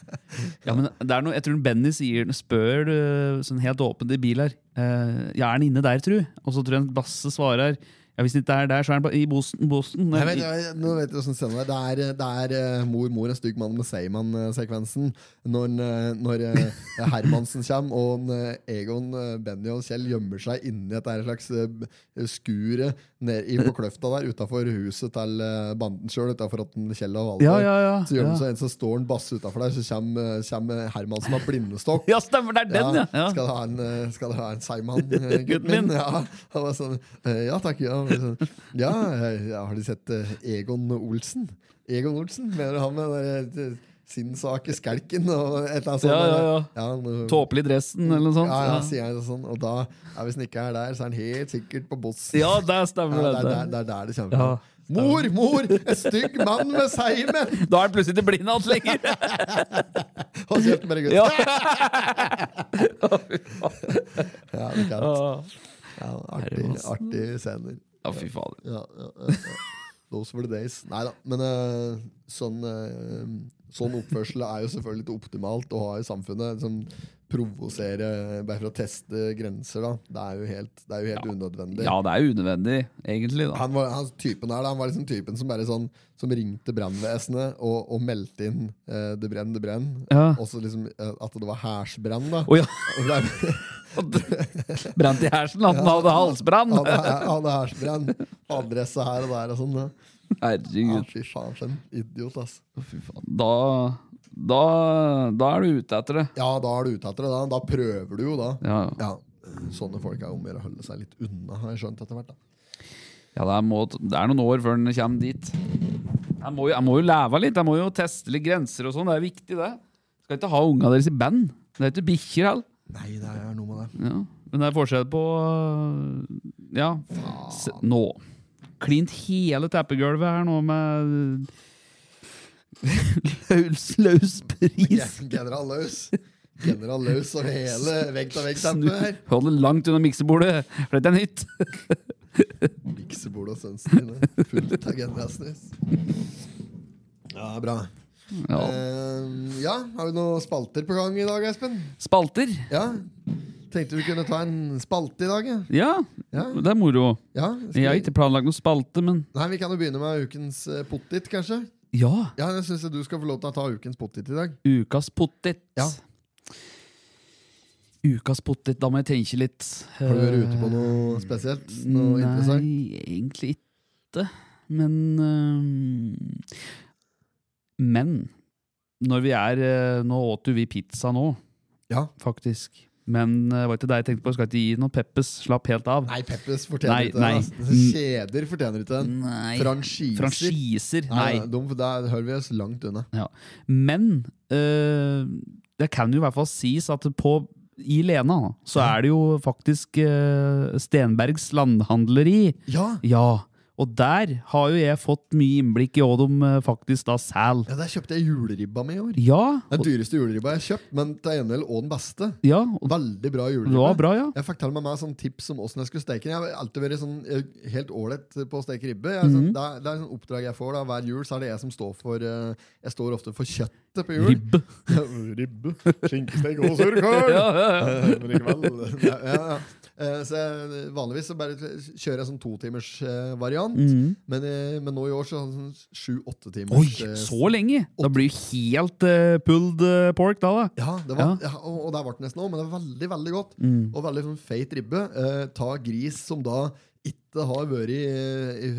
B: ja men det er noe, jeg tror Benny sier, spør eh, sånn helt åpent i bil her eh, Ja, er han inne der, tru? Og så tror jeg Basse svarer ja, Hvis han ikke er der, så er han på, i Boston. Boston
C: Nei, men, jeg- nå vet du hvordan scenen er. Det er, det er eh, mor, mor, en stygg mann med Seiman-sekvensen. Når, en, eh, når
B: [laughs]
C: eh, Hermansen kommer, og en, eh, Egon, eh, Benny og Kjell gjemmer seg inni et der slags eh, b- skure ned i,
B: [laughs]
C: på kløfta der, utafor huset til eh, banden sjøl, utafor Kjell og Valdor.
B: Ja, ja, ja.
C: Så gjør de
B: Ja.
C: seg en, så står han Basse utafor der, så kommer, eh, kommer Hermansen med blindestokk.
B: ja, stemmer, det er den, ja! ja.
C: Skal du ha en, eh, skal du ha en Seiman, eh, gutten
B: [laughs] Gutten
C: min?
B: min.
C: Ja, han var sånn, eh, ja takk. Ja, Og sånn, ja eh, ja, har du sett eh, Egon Olsen? Egon Olsen, mener du han med den der, eh, sinnssake skelken og et eller annet sånt?
B: Ja, ja,
C: eller?
B: ja.
C: han, eh,
B: Tåpelig i dressen, eller noe sånt.
C: Ja, ja,
B: Ja,
C: sier jeg det sånn. Og da, ja, hvis han ikke er der, så er han helt sikkert på bossen.
B: ja det
C: Ja,
B: stemmer,
C: det, er,
B: det.
C: der- det er der det kommer
B: Ja.
C: fra. Mor, mor! En stygg mann med seimen!
B: Da er han plutselig ikke blind alt lenger!
C: [laughs] Hold kjeften, bare gutt.
B: Ja.
C: Ja. det er kaldt. ja, artig, artig scener.
B: ja, fy fader.
C: ja, ja, ja, ja. Those were the days. Nei da. Men eh, sånn, eh, sånn oppførsel er jo selvfølgelig ikke optimalt å ha i samfunnet. Som provosere bare for å teste grenser. da Det er jo helt, det er jo helt unødvendig.
B: Ja, det er jo unødvendig, egentlig. da
C: Han var, han, typen her, da, han var liksom typen som bare sånn Som ringte brannvesenet og, og meldte inn eh, 'det brenn, det brenn'.
B: Ja.
C: Også liksom eh, at det var hærsbrann. da.
B: Å ja,
C: Og det er- [laughs]
B: Brant i hersen, at han hadde halsbrann!
C: Han hadde hærsbrann. Adresse her og der og sånn. da Ja,
B: Herregud.
C: fy faen, for en idiot, ass.
B: Fy faen. Da, da, da er du ute etter det.
C: Ja, da er du ute etter det. Da, da prøver du jo, da.
B: Ja,
C: Ja, Sånne folk er jo mer å holde seg litt unna, har jeg skjønt etter hvert. da
B: ja det, er må, det er noen år før den kommer dit. Jeg må, jo- jeg må jo leve litt, jeg må jo teste litt grenser og sånn. Det er viktig, det. Skal ikke ha unga deres i band. Det er ikke bikkjer heller.
C: Nei, det er noe med det.
B: Ja. Men det er forskjell på øh, Ja, S nå. Klint hele teppegulvet her nå med [laughs] løs, løspris.
C: Gen- General Løs. General Løs og hele vegg til vegg
B: Snu.
C: teppet her.
B: Hold det langt unna miksebordet, for dette er nytt.
C: Miksebordet og sønnen dine. Fullt av General Snus. Ja, bra.
B: Ja.
C: Eh, ja, har vi noen spalter på gang i dag, Espen?
B: Spalter.
C: Ja. Tenkte vi kunne ta en spalte i dag. Ja.
B: Ja,
C: Ja.
B: det er moro.
C: Ja, skal
B: Jeg har
C: vi-
B: ikke planlagt noen spalte, men
C: Nei, Vi kan jo begynne med ukens eh, pottit, kanskje.
B: ja.
C: Ja, jeg synes Du skal få lov til å ta ukens pottit i dag.
B: Ukas potet.
C: Ja.
B: Ukas potet, da må jeg tenke litt.
C: Har du vært ute på noe spesielt? Noe
B: Eh, Nei,
C: interessant?
B: egentlig ikke. Men øhm, Men når vi er øh, Nå åt jo vi pizza nå,
C: Ja.
B: faktisk. Men øh, det var ikke det jeg tenkte på. Jeg skal ikke gi noe Peppes. Slapp helt av.
C: Nei, Peppes fortjener
B: Nei,
C: ikke
B: nei.
C: den. altså. Kjeder fortjener ikke den.
B: Nei.
C: Franchiser.
B: Franchiser.
C: Nei,
B: Nei.
C: nei, de, der hører vi oss langt unna.
B: Ja. Men eh, det kan jo i hvert fall sies at på, i Lena så er det jo faktisk eh, Stenbergs landhandleri.
C: Ja,
B: Ja, Og der har jo jeg fått mye innblikk i hva de eh, faktisk da selger.
C: Ja, Der kjøpte jeg juleribba med i år.
B: Ja,
C: Den
B: og,
C: dyreste juleribba jeg har kjøpt, men til gjengjeld også den beste.
B: ja, og
C: Veldig bra
B: det
C: juleribbe.
B: var bra, ja.
C: Jeg fikk til meg meg sånn tips om åssen jeg skulle steke den. Jeg har alltid vært sånn eh, helt ålreit på å steke ribbe. Jeg, er
B: Mhm.
C: sånn, det, er, det er sånn oppdrag jeg får da. hver jul, så er det jeg som står for eh, Jeg står ofte for kjøttet på jul. [laughs]
B: Ribbe.
C: Ribbe. Skinkestek og surkål!
B: [laughs] Ja, ja, ja.
C: Eh, Men likevel. Ja, ja, ja. Eh, Så jeg, vanligvis så bare kjører jeg sånn totimers eh, variant. Men, eh, men nå i år så er det sånn sju-åtte timers.
B: Mm. Oi,
C: eh,
B: så lenge! Da blir det helt eh, pulled eh, pork, da. da.
C: Ja, det var, ja. og, og der ble det nesten òg, men det var veldig veldig godt.
B: Mm.
C: Og veldig sånn feit ribbe. Eh, ta gris som da ikke har vært i, i,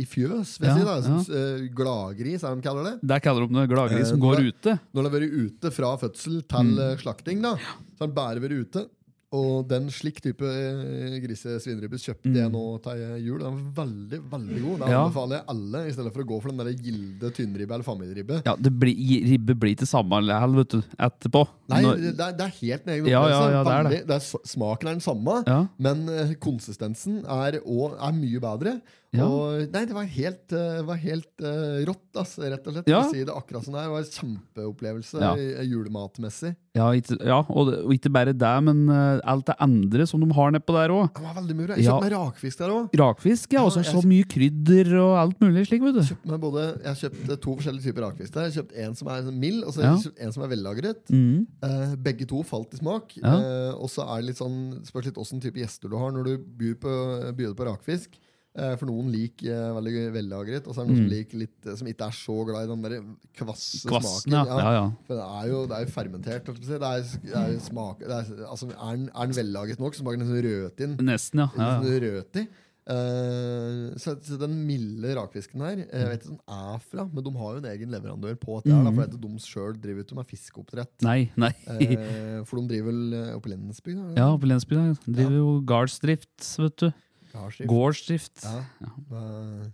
C: i fjøs, vil jeg
B: Ja,
C: si. da som, eh, Gladgris, er det de kaller det.
B: Der kaller de det glagris som
C: Eh,
B: går
C: det-
B: ute.
C: Når det har vært ute fra fødsel
B: Mm.
C: til eh, slakting, da, så har den bare vært ute. Og den slik type eh, grise-svineribbe kjøpte jeg nå til eh, jul. Den var veldig veldig god. Den
B: Mm. Ja.
C: anbefaler jeg alle, i stedet for å gå for den der gilde tynnribbe eller familieribbe.
B: Ja, det blir, Ribbe blir til samme lel, vet du, etterpå.
C: Nei,
B: Når-
C: det, det er- det er helt nede.
B: Ja, ja, ja, det er det.
C: smaken er den samme,
B: Ja.
C: men eh, konsistensen er, og, er mye bedre.
B: Ja.
C: Og, nei, det var helt, eh, var helt eh, rått, ass, rett og slett.
B: Ja.
C: å Si det akkurat som det er. Det var en kjempeopplevelse
B: Ja.
C: eh, julematmessig.
B: Ja, ikke, ja og, det- og ikke bare det, men eh, alt det andre som de har nedpå der òg.
C: Den var veldig mye bra. Jeg
B: Ja.
C: kjøpte meg rakfisk der òg.
B: Rakfisk, ja. Og så
C: Ja,
B: så
C: jeg-
B: mye krydder og alt mulig slik, vet du.
C: Men både, jeg kjøpte to forskjellige typer rakfisk. der Jeg kjøpte en som er sånn mild, og så
B: Ja.
C: kjøpte en som er vellagret.
B: Mm.
C: Eh, begge to falt i smak.
B: Ja.
C: Eh, og så er det litt sånn, spørs litt åssen type gjester du har når du byr på, byr på rakfisk. Eh, for noen liker eh, veldig vellagret, og så er det noen
B: Mm.
C: som liker litt eh, Som ikke er så glad i den der kvasse
B: Kvassen,
C: smaken.
B: ja. ja, ja.
C: For det er jo, det er jo fermentert. holdt jeg på å si. Det er, det er, smak, det er, altså, er, den, er den vellagret nok, så smaker den sånn rødt inn.
B: Nesten, ja. ja, ja.
C: Sånn rødt i. Eh, så, så den milde rakfisken her eh,
B: Mm.
C: Jeg vet ikke om den er fra, men de har jo en egen leverandør på dette. her, da, For at de sjøl driver ut med
B: [laughs]
C: fiskeoppdrett.
B: Nei, nei.
C: Eh, for de driver vel eh, oppe i Lensby? da, eller?
B: Ja, på Lensby der. Driver jo gardsdrift, vet du.
C: Gardsdrift.
B: Gårdsdrift.
C: Ja. med,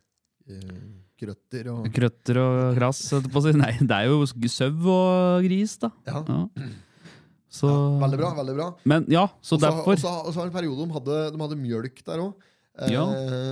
C: eh, Krøtter og
B: Krøtter og krass, holdt jeg på å si. Nei, det er jo sau og gris, da.
C: ja.
B: Ja. Så
C: Veldig bra. veldig bra
B: Men ja, så
C: Og så
B: derfor.
C: og så- og så var det en periode de hadde, de hadde mjølk der òg. Eh,
B: Ja.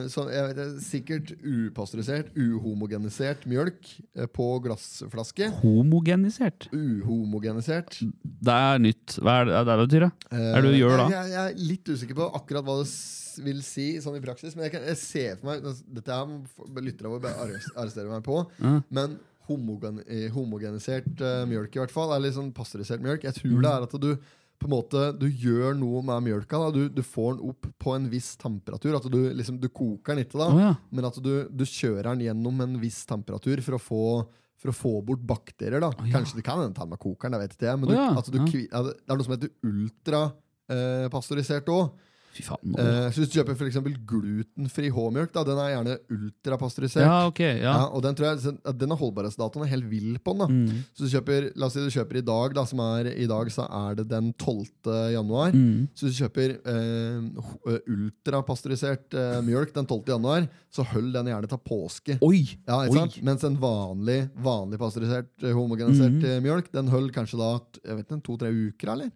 C: Så jeg vet, ikke, Sikkert upasteurisert, uhomogenisert mjølk eh, på glassflaske.
B: Homogenisert.
C: Uhomogenisert.
B: Det er nytt. Hva er det det er det betyr? da? Hva er det du gjør da?
C: Eh, Jeg, jeg, jeg er litt usikker på akkurat hva det s- vil si sånn i praksis. Men jeg, kan, jeg ser for meg altså, Dette her må f- lyttere våre bare arres- arrestere meg på. Men homogen, eh, homogenisert eh, mjølk, i hvert fall. Eller sånn pasteurisert mjølk. Jeg
B: Mm.
C: tror det er at du på en måte, du gjør noe med mjølka. Da. Du, du får den opp på en viss temperatur. At du, liksom, du koker den ikke, da,
B: Å, ja.
C: men at du, du kjører den gjennom en viss temperatur for å få, for å få bort bakterier. Da. Kanskje det kan hende ta med kokeren, det vet ikke jeg. Men
B: Å,
C: du,
B: ja.
C: at du,
B: Ja.
C: kvi- ja, det det er noe som heter ultrapasteurisert òg.
B: Fy faen. nå.
C: Eh, så hvis du kjøper for eksempel glutenfri H-mjølk, da, den er gjerne ultrapasteurisert.
B: Ja, ok. Ja.
C: Ja, og den, tror jeg, så- at den har holdbarhetsdatoen er helt vill på den. da
B: Mm.
C: Så du kjøper, La oss si du kjøper i dag, da, som er i dag så er det den 12. januar.
B: Mm.
C: Så hvis du kjøper eh, ho- eh, ultrapasteurisert eh, mjølk den 12. januar, så hold den gjerne til påske.
B: Oi!
C: Ja, ikke
B: Oi.
C: sant? Mens en vanlig, vanlig pasteurisert, eh, homogenisert
B: Mhm.
C: eh, mjølk, den holder kanskje da t- jeg vet ikke, to-tre uker, eller?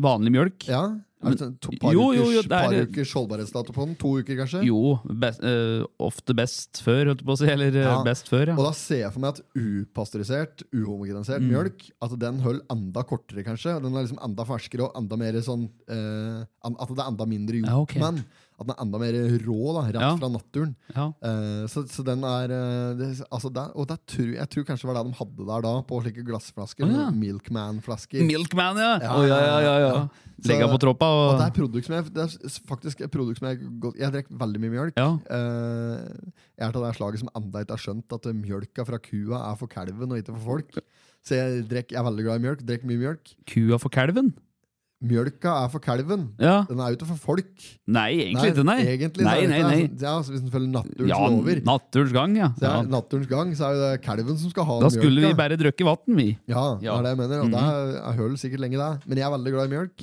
B: Vanlig mjølk?
C: Ja? Er det sånn to, par,
B: Jo, jo,
C: ukers,
B: jo, det er
C: par
B: det.
C: ukers holdbarhetsdato på den? To uker, kanskje?
B: Jo, best, eh, ofte best før, holdt jeg på å si. Eller eh,
C: Ja.
B: best før,
C: Og
B: ja.
C: da ser jeg for meg at upasteurisert,
B: Mm.
C: uhomogenisert mjølk At den holder enda kortere, kanskje. Den er liksom enda ferskere og enda mer sånn eh, an- At det er enda mindre gjort
B: Ja, ok.
C: med den. At den er enda mer rå, da, rett
B: Ja.
C: fra naturen.
B: ja.
C: Eh, så, så den er eh, det, altså det, Og det tror, jeg tror kanskje det var det de hadde der da, på slike glassflasker.
B: Å, ja.
C: sånne Milkman-flasker.
B: Milkman, ja!
C: Ja,
B: Å, ja, ja,
C: ja.
B: ja, ja. Legge
C: Så-
B: den på troppa
C: Og
B: og
C: det er, produkt som jeg, det er s- faktisk et produkt som jeg godt, Jeg drikker veldig mye mjølk.
B: Ja.
C: Eh, jeg er til det slaget som enda ikke har skjønt at mjølka fra kua er for kalven og ikke for folk. Så jeg, drek, jeg er veldig glad i mjølk. Drikker mye mjølk.
B: Kua for kalven?
C: Mjølka er for kalven.
B: Ja.
C: Den er jo ikke for folk.
B: Nei, egentlig ikke, nei.
C: Egentlig, så
B: nei,
C: er det
B: nei,
C: ikke
B: nei.
C: det. Ja, så hvis en følger naturens
B: Ja,
C: lover,
B: naturens gang, ja.
C: så
B: ja.
C: er naturens gang, så er jo det kalven som skal ha
B: Da
C: mjølka.
B: skulle vi bare drukket vann, vi.
C: Ja, det
B: Ja.
C: er
B: Mhm.
C: det jeg mener. Og det er- jeg hører sikkert lenge det. Men jeg er veldig glad i mjølk.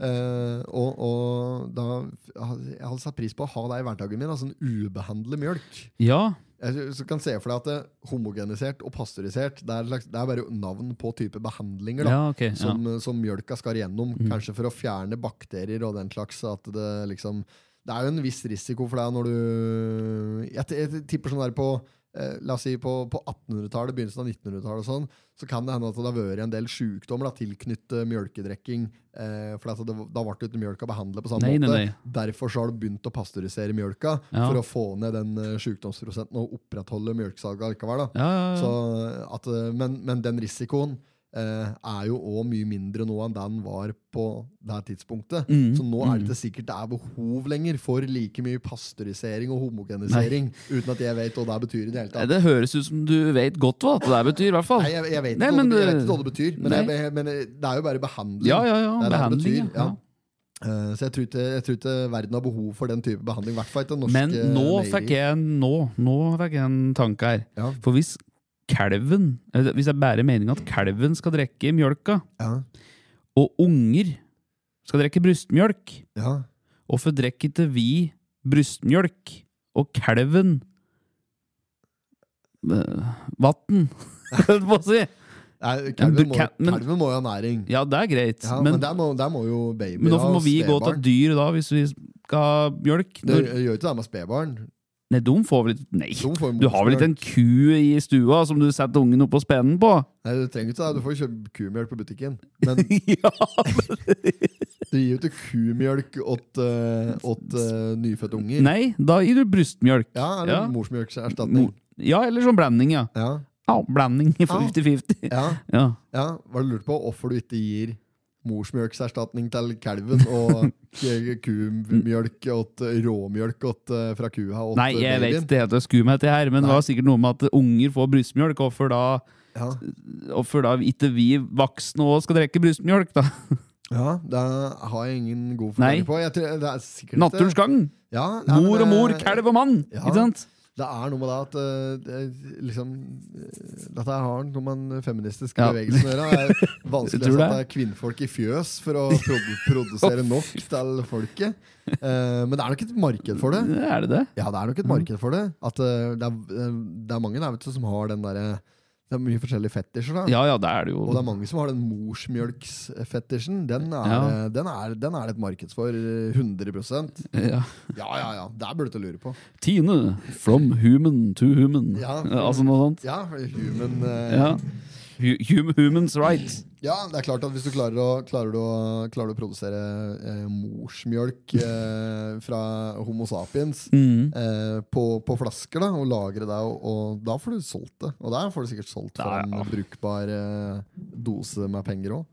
C: Eh, og, og da Jeg hadde satt pris på å ha det i hverdagen min. Altså en ubehandlet mjølk.
B: Ja.
C: Jeg sy- så kan se for deg at det, homogenisert og pasteurisert det er, slags- det er bare navn på type behandlinger da,
B: Ja, ok, ja.
C: eh,
B: Mm.
C: som, som mjølka skal igjennom. Kanskje for å fjerne bakterier og den slags. At det liksom det er jo en viss risiko for deg når du Jeg, t- jeg tipper sånn der på eh, La oss si på, på 1800-tallet, begynnelsen av 1900-tallet, og sånn, så kan det hende at det har vært en del sykdommer da, tilknyttet mjølkedrikking. Eh, for at det, da ble ikke mjølka behandlet på samme
B: Nei, nei,
C: måte.
B: nei.
C: Derfor så har du begynt å pasteurisere mjølka
B: Ja.
C: for å få ned den eh, sykdomsprosenten og opprettholde mjølkesalget likevel. Da.
B: Ja, ja, ja.
C: Så
B: Mm.
C: at, eh, men, men den risikoen eh, er jo òg mye mindre nå enn den var på det her tidspunktet.
B: Mm.
C: Så nå er det ikke sikkert det er behov lenger for like mye pasteurisering og homogenisering, uten at jeg vet hva det betyr i det hele
B: Nei,
C: tatt.
B: Det høres ut som du vet godt hva det der betyr, i hvert fall.
C: Nei, jeg, jeg, vet
B: Nei,
C: ikke hva
B: men
C: det, jeg vet
B: det-
C: ikke hva det betyr, men,
B: Nei.
C: jeg, jeg- men eh, det er jo bare behandling.
B: Ja, ja,
C: Det er
B: ja.
C: det det
B: Behandling.
C: betyr,
B: Ja.
C: ja. Eh, Så jeg tror, ikke, jeg tror ikke verden har behov for den type behandling. I hvert fall ikke norske
B: Men nå
C: leger.
B: fikk jeg en- nå, nå fikk jeg en tanke her.
C: Ja.
B: For hvis kalven eller Hvis jeg bærer meninga at kalven skal drikke mjølka,
C: ja,
B: og unger skal drikke brystmjølk,
C: ja.
B: hvorfor drikker ikke vi brystmjølk og kalven øh, vann? [laughs] Holdt på å si.
C: Nei,
B: Ja, men
C: kalven,
B: du
C: må,
B: kan- men-
C: kalven må jo ha næring.
B: Ja, det er greit,
C: Ja, men
B: men,
C: der, må, der må jo babyer
B: men hvorfor
C: ha
B: må vi gå til
C: spedbarn.
B: dyr da, hvis vi skal ha mjølk?
C: Det
B: Når,
C: gjør ikke det med spedbarn.
B: Nei, de får vel ikke Nei,
C: De får jo
B: du har vel ikke en ku i stua som du setter ungen opp på spenen på?
C: Nei, Du trenger ikke det. Du får jo kjøpe kumjølk på butikken. Men
B: [laughs] ja,
C: du gir jo ikke kumjølk åt, eh, åt eh, nyfødte unger.
B: Nei, da gir du brystmjølk.
C: Ja, eller
B: Ja.
C: morsmjølkserstatning.
B: Mo- ja eller sånn blanding, ja.
C: Ja,
B: ja blanding i 50-50.
C: ja,
B: Ja.
C: ja. Var det lurt på hvorfor du ikke gir morsmjølkserstatning til kalven
B: [laughs]
C: og k- kumjølk åt råmjølk åt, eh, fra kua åt
B: Nei, jeg vet
C: babyen?
B: ikke helt hva skumhet det her, men det var sikkert noe med at unger får brystmjølk. Hvorfor da,
C: Ja.
B: hvorfor da ikke vi voksne òg skal drikke brystmjølk, da?
C: ja, det har jeg ingen god
B: Nei.
C: forklaring på. Jeg tror, det er sikkert ikke-
B: Naturens gang.
C: Ja, nei, men,
B: Mor og mor,
C: eh,
B: kalv og mann.
C: ja.
B: Ikke sant?
C: Det er noe med det at eh, det, er liksom, eh, Dette her har noe med den feministiske
B: Ja.
C: bevegelsen å gjøre. Det er
B: [laughs] Jeg
C: vanskelig
B: tror
C: å
B: det.
C: sette kvinnfolk i fjøs for å produ
B: [laughs]
C: produsere nok til folket. Eh, men det er nok et marked for det.
B: Er det det?
C: Ja, det er
B: Mm.
C: nok et marked for det. At eh, det, er, eh, det er mange der vet du, som har den derre Det er mye forskjellige fetisjer, da.
B: Ja ja, det er det jo.
C: Og det er mange som har den morsmjølksfetisjen. Den er, eh,
B: Ja.
C: den, er, den er det et marked for. eh, 100 Ja,
B: Ja.
C: ja, ja. Der burde du lure på.
B: Tine, from human to human.
C: Ja.
B: Altså noe sånt.
C: Ja, human eh,
B: Ja. Hu- hum- humans rights.
C: Ja, det er klart at hvis du klarer å, klarer du å, klarer du å produsere eh, morsmjølk eh, fra Homo sapiens
B: Mm.
C: eh, på, på flasker da, og lagre det, og, og da får du solgt det. Og der får du sikkert solgt for
B: Ja,
C: en
B: ja.
C: brukbar eh, dose med penger òg.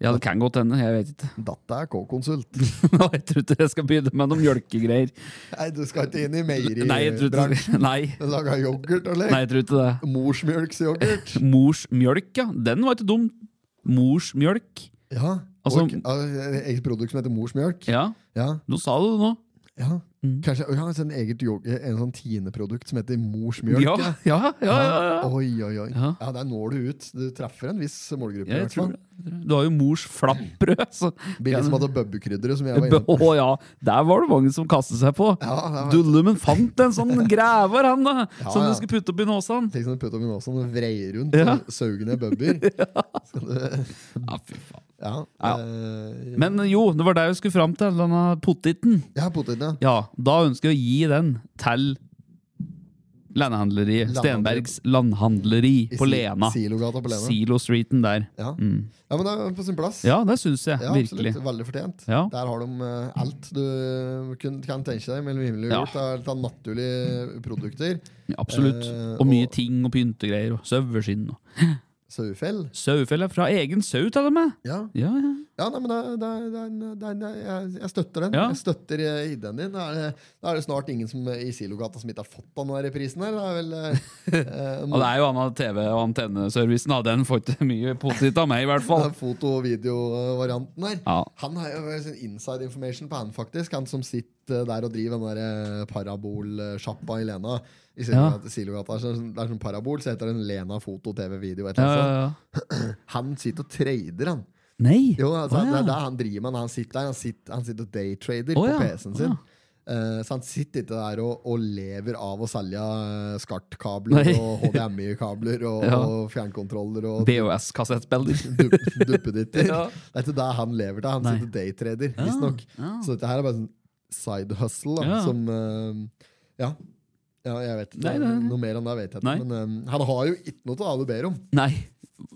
B: Ja, det kan godt hende. Jeg vet ikke. [laughs]
C: Dette er K-konsult.
B: Nå, jeg tror ikke jeg skal begynne med noen mjølkegreier.
C: Nei, du skal ikke inn i
B: Nei, jeg tror
C: meieribransjen.
B: ikke [laughs] Nei.
C: Laga yoghurt,
B: Nei,
C: eller?
B: jeg tror ikke det.
C: Morsmjølksyoghurt.
B: [laughs] Mors mjølk, ja. Den var ikke dum. Mors mjølk.
C: Ja.
B: Altså-
C: og, ja, eget produkt som heter morsmjølk.
B: Ja,
C: Ja.
B: nå sa du det nå.
C: Ja.
B: Mm.
C: Kanskje ja, altså en eget yoghurt- en sånn Tine-produkt som heter morsmjølk.
B: Ja,
C: ja.
B: ja, ja. ja, ja.
C: Oi, oi, oi. Ja.
B: Ja.
C: Der når du ut. Du treffer en viss målgruppe. i
B: Jeg
C: hvert
B: tror
C: fall.
B: det. Du har jo mors flappbrød. [laughs] Så.
C: Billig som hadde bøbbekrydderet, som jeg var inne på.
B: Å ja, der var det mange som kastet seg på.
C: Ja, det var-
B: Dullumen fant en
C: [laughs]
B: sånn grever, han da,
C: Ja,
B: som
C: ja.
B: du skulle putte opp i nåsen.
C: Tenk som du putter opp i nåsen og vreier rundt
B: Ja.
C: og sauger ned
B: [laughs]
C: bøbber. Skal du-
B: Ja, fy faen.
C: Ja,
B: Ja.
C: eh,
B: Men jo, det var det jeg skulle fram til, denne pottiten.
C: ja potetene. ja.
B: Ja, da ønsker jeg å gi den til landhandleriet.
C: Landhandleri.
B: Stenbergs landhandleri
C: I
B: på
C: si-
B: Lena.
C: Silogata på Lena.
B: Silo-streeten der.
C: ja.
B: Mm.
C: ja, men det er på sin plass.
B: Ja, det syns jeg.
C: Ja,
B: virkelig.
C: absolutt. Veldig fortjent.
B: Ja.
C: Der har de eh, alt du kun, kan tenke deg mellom himmel og
B: Ja.
C: jord. Det er- Det er naturlige produkter.
B: Absolutt.
C: Eh,
B: Og mye
C: og-
B: ting og pyntegreier. Og saueskinn. og
C: Sauefell.
B: Sauefelle fra egen sau, til og med!
C: Ja.
B: Ja, ja.
C: Ja, nei, men det, det, det, det, det, det, jeg, jeg støtter den.
B: Ja.
C: Jeg støtter eh, ideen din. Da er, det, da er det snart ingen som, eh, i Silogata som ikke har fått av denne prisen her. Det er vel
B: [laughs]
C: eh, eh,
B: Og det er jo annen TV- og antenneservicen, da. Den får ikke mye potet av meg, i hvert fall.
C: [laughs] den foto- og videovarianten her.
B: Ja.
C: Han har jo sin inside information på han, faktisk. Han som sitter der og driver den der eh, parabolsjappa i Lena. I Silogata, Silogata. Så Det er sånn parabol, så heter den Lena foto, TV, video. Et
B: Ja,
C: eller
B: ja,
C: annet.
B: ja.
C: sånt. Han sitter og trader, han.
B: Nei!
C: Jo, altså,
B: Å, ja.
C: det er det han driver med når han sitter der. Han sitter, han sitter og daytrader
B: Å, ja.
C: på PC-en sin.
B: Å, ja.
C: Eh, så han sitter ikke der og, og lever av å selge eh, SCART-kabler
B: Nei.
C: og HDMI-kabler og,
B: [laughs] Ja.
C: og fjernkontroller og [laughs]
B: BOS-kassettspiller.
C: dupp, duppeditter.
B: [laughs] Ja.
C: Det er ikke det han lever til. Han
B: Nei.
C: sitter og daytrader, visstnok.
B: ja.
C: Så dette her er bare sånn side hustle, da,
B: Ja.
C: som eh, ja. ja, jeg vet ikke.
B: Nei, nei, nei.
C: Noe mer enn det vet jeg ikke.
B: Nei.
C: Men eh, han har jo ikke noe til Ave ber om.
B: Nei,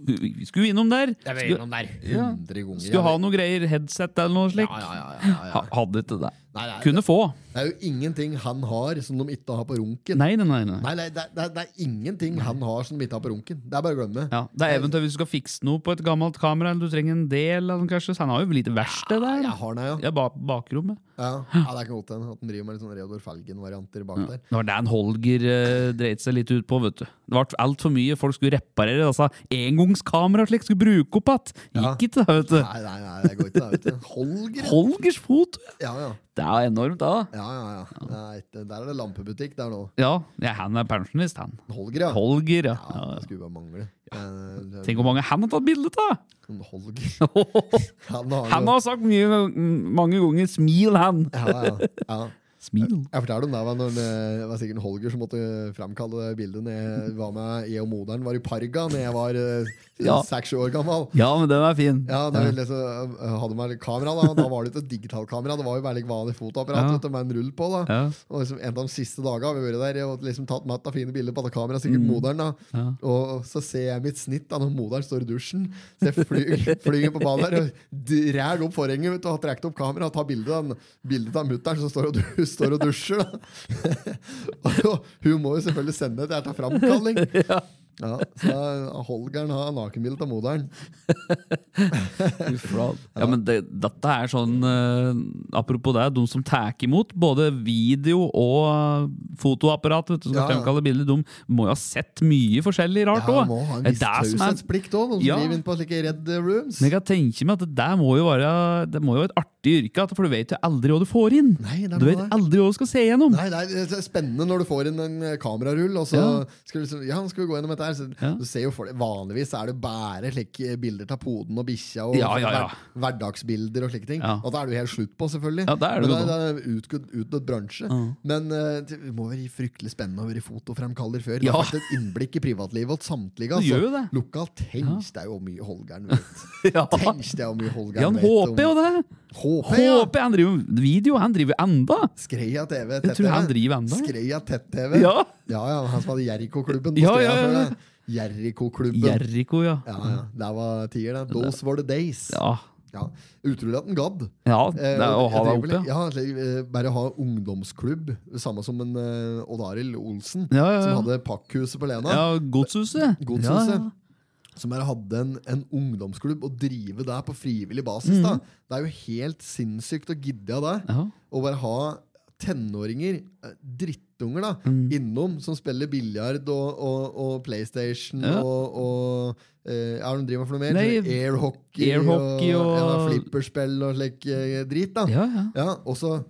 B: vi skulle innom der. Skulle, Ja.
C: Hundre ganger.
B: skulle ha noe greier, headset eller noe
C: ja,
B: slikt.
C: ja, ja, ja, ja, ja.
B: Ha- Hadde ikke det.
C: Nei, nei,
B: Kunne få.
C: Det er jo ingenting han har som de ikke har på runken.
B: Nei, nei, nei. nei.
C: Nei, nei, det, er- det, er- det er ingenting han har som de ikke har på runken. Det er bare å glemme.
B: Ja, det er eventuelt hvis du skal fikse noe på et gammelt kamera, eller du trenger en del av den, kanskje. Så han har jo lite verksted der.
C: Jeg har den, ja.
B: Ja, ba bakrommet.
C: Ja. ja, Det er ikke godt hende at han driver med litt sånn Reodor Felgen-varianter bak der.
B: Det var der Holger eh, dreit seg litt ut på, vet du. Det ble altfor mye folk skulle reparere. Altså, Engangskamera og slikt skulle bruke opp igjen.
C: Ja.
B: Gikk ikke, det, vet du.
C: Nei, nei, nei, det går ikke. Det, vet du. Holger! ja.
B: Holgers fot!
C: Ja, ja.
B: Det er jo enormt, da.
C: ja, ja, ja. Det er ikke, der er det lampebutikk der nå.
B: Ja, ja han er pensjonist, han.
C: Holger, ja.
B: Holger, ja.
C: ja
B: ja.
C: det skulle bare mangle. Eh, sånn
B: Tenk hvor mange han har tatt bilde av!
C: Holger.
B: [laughs]
C: [laughs] Han
B: Han
C: jo-
B: har sagt mye, mange ganger 'smil, han'.
C: ja, ja, ja.
B: Smil.
C: Jeg fortalte om det var når eh, det var sikkert en Holger som måtte framkalle det bildet når jeg var med jeg og moderen var i Parga da jeg var
B: Ja.
C: seks-sju år gammel.
B: Ja, men den er fin.
C: Ja, da ville jeg så- eh, hadde man kamera Da Da var det ikke et digitalkamera, det var jo bare like vanlig fotoapparat
B: Ja.
C: vet du, med en rull på. da
B: Ja.
C: Og liksom En av de siste dagene har vi vært der og liksom tatt matt av fine bilder på dette kameraet.
B: Mm.
C: Sikkert moderen da Og så ser jeg mitt snitt da når moderen står i dusjen. Så jeg flyr, [laughs] flyr på badet her og drar opp forhenget vet du, og har trukket opp kameraet og tar bilde av, den- bildet av mutter'n som står og, du- [laughs] står og dusjer. da [laughs] Og hun må jo selvfølgelig sende det her til
B: [laughs]
C: framkalling. Ja, så Holgeren har nakenbilde av moderen.
B: Fy flate. Ja, men det, dette er sånn eh, Apropos det, de som tar imot både video og eh, fotoapparat, vet du, som
C: Ja, ja.
B: fremkaller bilder, de må jo ha sett mye forskjellig rart
C: Ja,
B: òg.
C: han må ha en viss taushetsplikt òg, noen
B: Ja.
C: som driver inn på slike Red Rooms.
B: men jeg kan tenke meg at det der må jo være Det må jo være et artig yrke, at- for du vet jo aldri hva du får inn.
C: Nei, det er
B: du
C: noe
B: vet
C: der.
B: aldri hva du skal se gjennom.
C: Nei, nei, det er spennende når du får inn en eh, kamerarull, og så
B: Ja.
C: skal du liksom Ja, nå skal vi gå gjennom dette her. Så,
B: Ja.
C: du ser jo for deg, Vanligvis er det bare slike bilder av poden og bikkja og
B: Ja, ja, ja.
C: hver- hverdagsbilder og slike ting.
B: Ja.
C: Og da er du helt slutt på, selvfølgelig.
B: Ja, det er
C: Men
B: det jo
C: det er, det er utgått, utgått bransje. Men eh, det må være fryktelig spennende å være fotofremkaller før. Det
B: Ja.
C: har vært et innblikk i privatlivet hos samtlige.
B: Det
C: Altså.
B: gjør jo det.
C: Lokalt. Tenk deg hvor mye Holgeren
B: [laughs]
C: vet.
B: Ja.
C: Tenk deg hvor mye Holgeren
B: Ja, han
C: vet. om-
B: håper jo det!
C: Håper, ja.
B: Håper Han driver med video, han driver enda!
C: Skreia TV.
B: Jeg tror han driver enda.
C: Skreia Tett-TV.
B: Ja.
C: ja, ja, han som hadde Jerrikoklubben på
B: Ja,
C: Skreia
B: ja, ja, ja.
C: før. det. Jerrikoklubben.
B: Jericho, ja.
C: ja, ja. Det var tier, det. Those were the days. Ja.
B: Ja,
C: Utrolig at han gadd.
B: ja
C: Eh,
B: det er å ha
C: jeg
B: deg
C: driver vel-
B: oppe. Ja.
C: ja, slik, eh, Bare ha ungdomsklubb. Samme som en eh, Odd Arild Olsen,
B: Ja, ja, ja.
C: som hadde Pakkhuset på Lena.
B: Ja, Godshuset.
C: Godshuset.
B: Ja, ja.
C: Som bare hadde en, en ungdomsklubb og drive det på frivillig basis.
B: Mm.
C: da. Det er jo helt sinnssykt å gidde av det.
B: Ja.
C: Å bare ha tenåringer, eh, drittunger, da,
B: Mm.
C: innom som spiller biljard og, og, og PlayStation
B: Ja.
C: og, og eh, Ja, de driver med for noe mer?
B: Nei,
C: Airhockey
B: air hockey
C: og, ja,
B: og-
C: flipperspill og slik eh, drit. da.
B: Ja, ja.
C: Ja, og så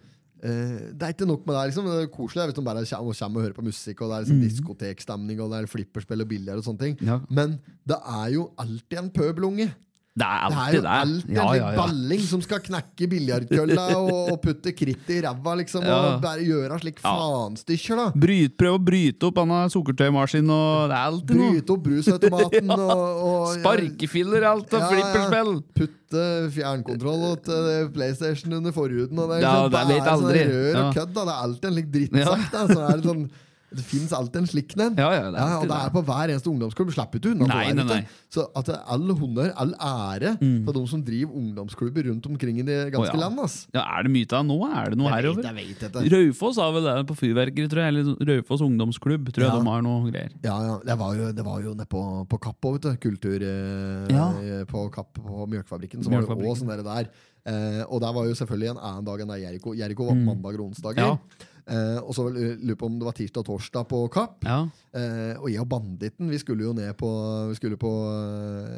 C: eh, Det er ikke nok med det. liksom Det er koselig hvis de bare kjem- og kommer og hører på musikk, og det er liksom diskotekstemning, og det er flipperspill og bilder og sånne ting.
B: Mm. Ja.
C: Men det er jo alltid en pøbelunge.
B: Det er
C: Det
B: alltid
C: er jo
B: det.
C: alltid
B: ja,
C: en
B: ja,
C: litt
B: ja.
C: balling som skal knekke
B: [laughs]
C: biljardkølla og, og putte kritt i ræva, liksom,
B: Ja.
C: og bare gjøre slik
B: Ja.
C: fanstykker, da.
B: Bryt, prøv å bryte opp Anna sukkertøymaskin og det er alltid noe.
C: Bryte opp brusautomaten
B: [laughs]
C: og, og
B: Sparkefiller alt og
C: Ja, ja.
B: flipperspill.
C: Putte fjernkontroll og til PlayStation under forhuden. Og det, er
B: Ja,
C: liksom
B: det vet
C: bare sånn
B: aldri.
C: Rør og
B: Ja.
C: kødd, da. Det er alltid en slik drittsak. da. Så er det sånn, det fins alltid en slik en.
B: Ja, ja, det er
C: og
B: alltid
C: det
B: det.
C: er på hver eneste ungdomsklubb. Slipper ikke unna. på
B: Nei,
C: hver,
B: nei,
C: vet du.
B: nei. Mm.
C: Så at det er all honnør, all ære, for de som driver ungdomsklubber rundt omkring i det ganske
B: Å, ja.
C: land. ass.
B: Ja, er det mye av det nå? Er det noe
C: Jeg vet,
B: herover?
C: jeg vet dette.
B: Raufoss har vel det på fyrverkeri, tror jeg. Eller Raufoss ungdomsklubb, tror jeg
C: Ja.
B: de har noe greier.
C: Ja, ja. Det var jo, det var jo nede på, på Kapp òg, vet du. Kultur eh,
B: Ja.
C: eh, på Kapp på Mjølkefabrikken. Så var det
B: Mjølkefabrikken.
C: òg sånn der. der. Eh, og der var jo selvfølgelig en annen dag enn der Jericho. Jericho var mandager og onsdager.
B: Mm. Ja.
C: Eh, og så lurer jeg på om det var tirsdag og torsdag på Kapp.
B: Ja.
C: Eh, og jeg og banditten vi skulle jo ned, på, vi skulle på,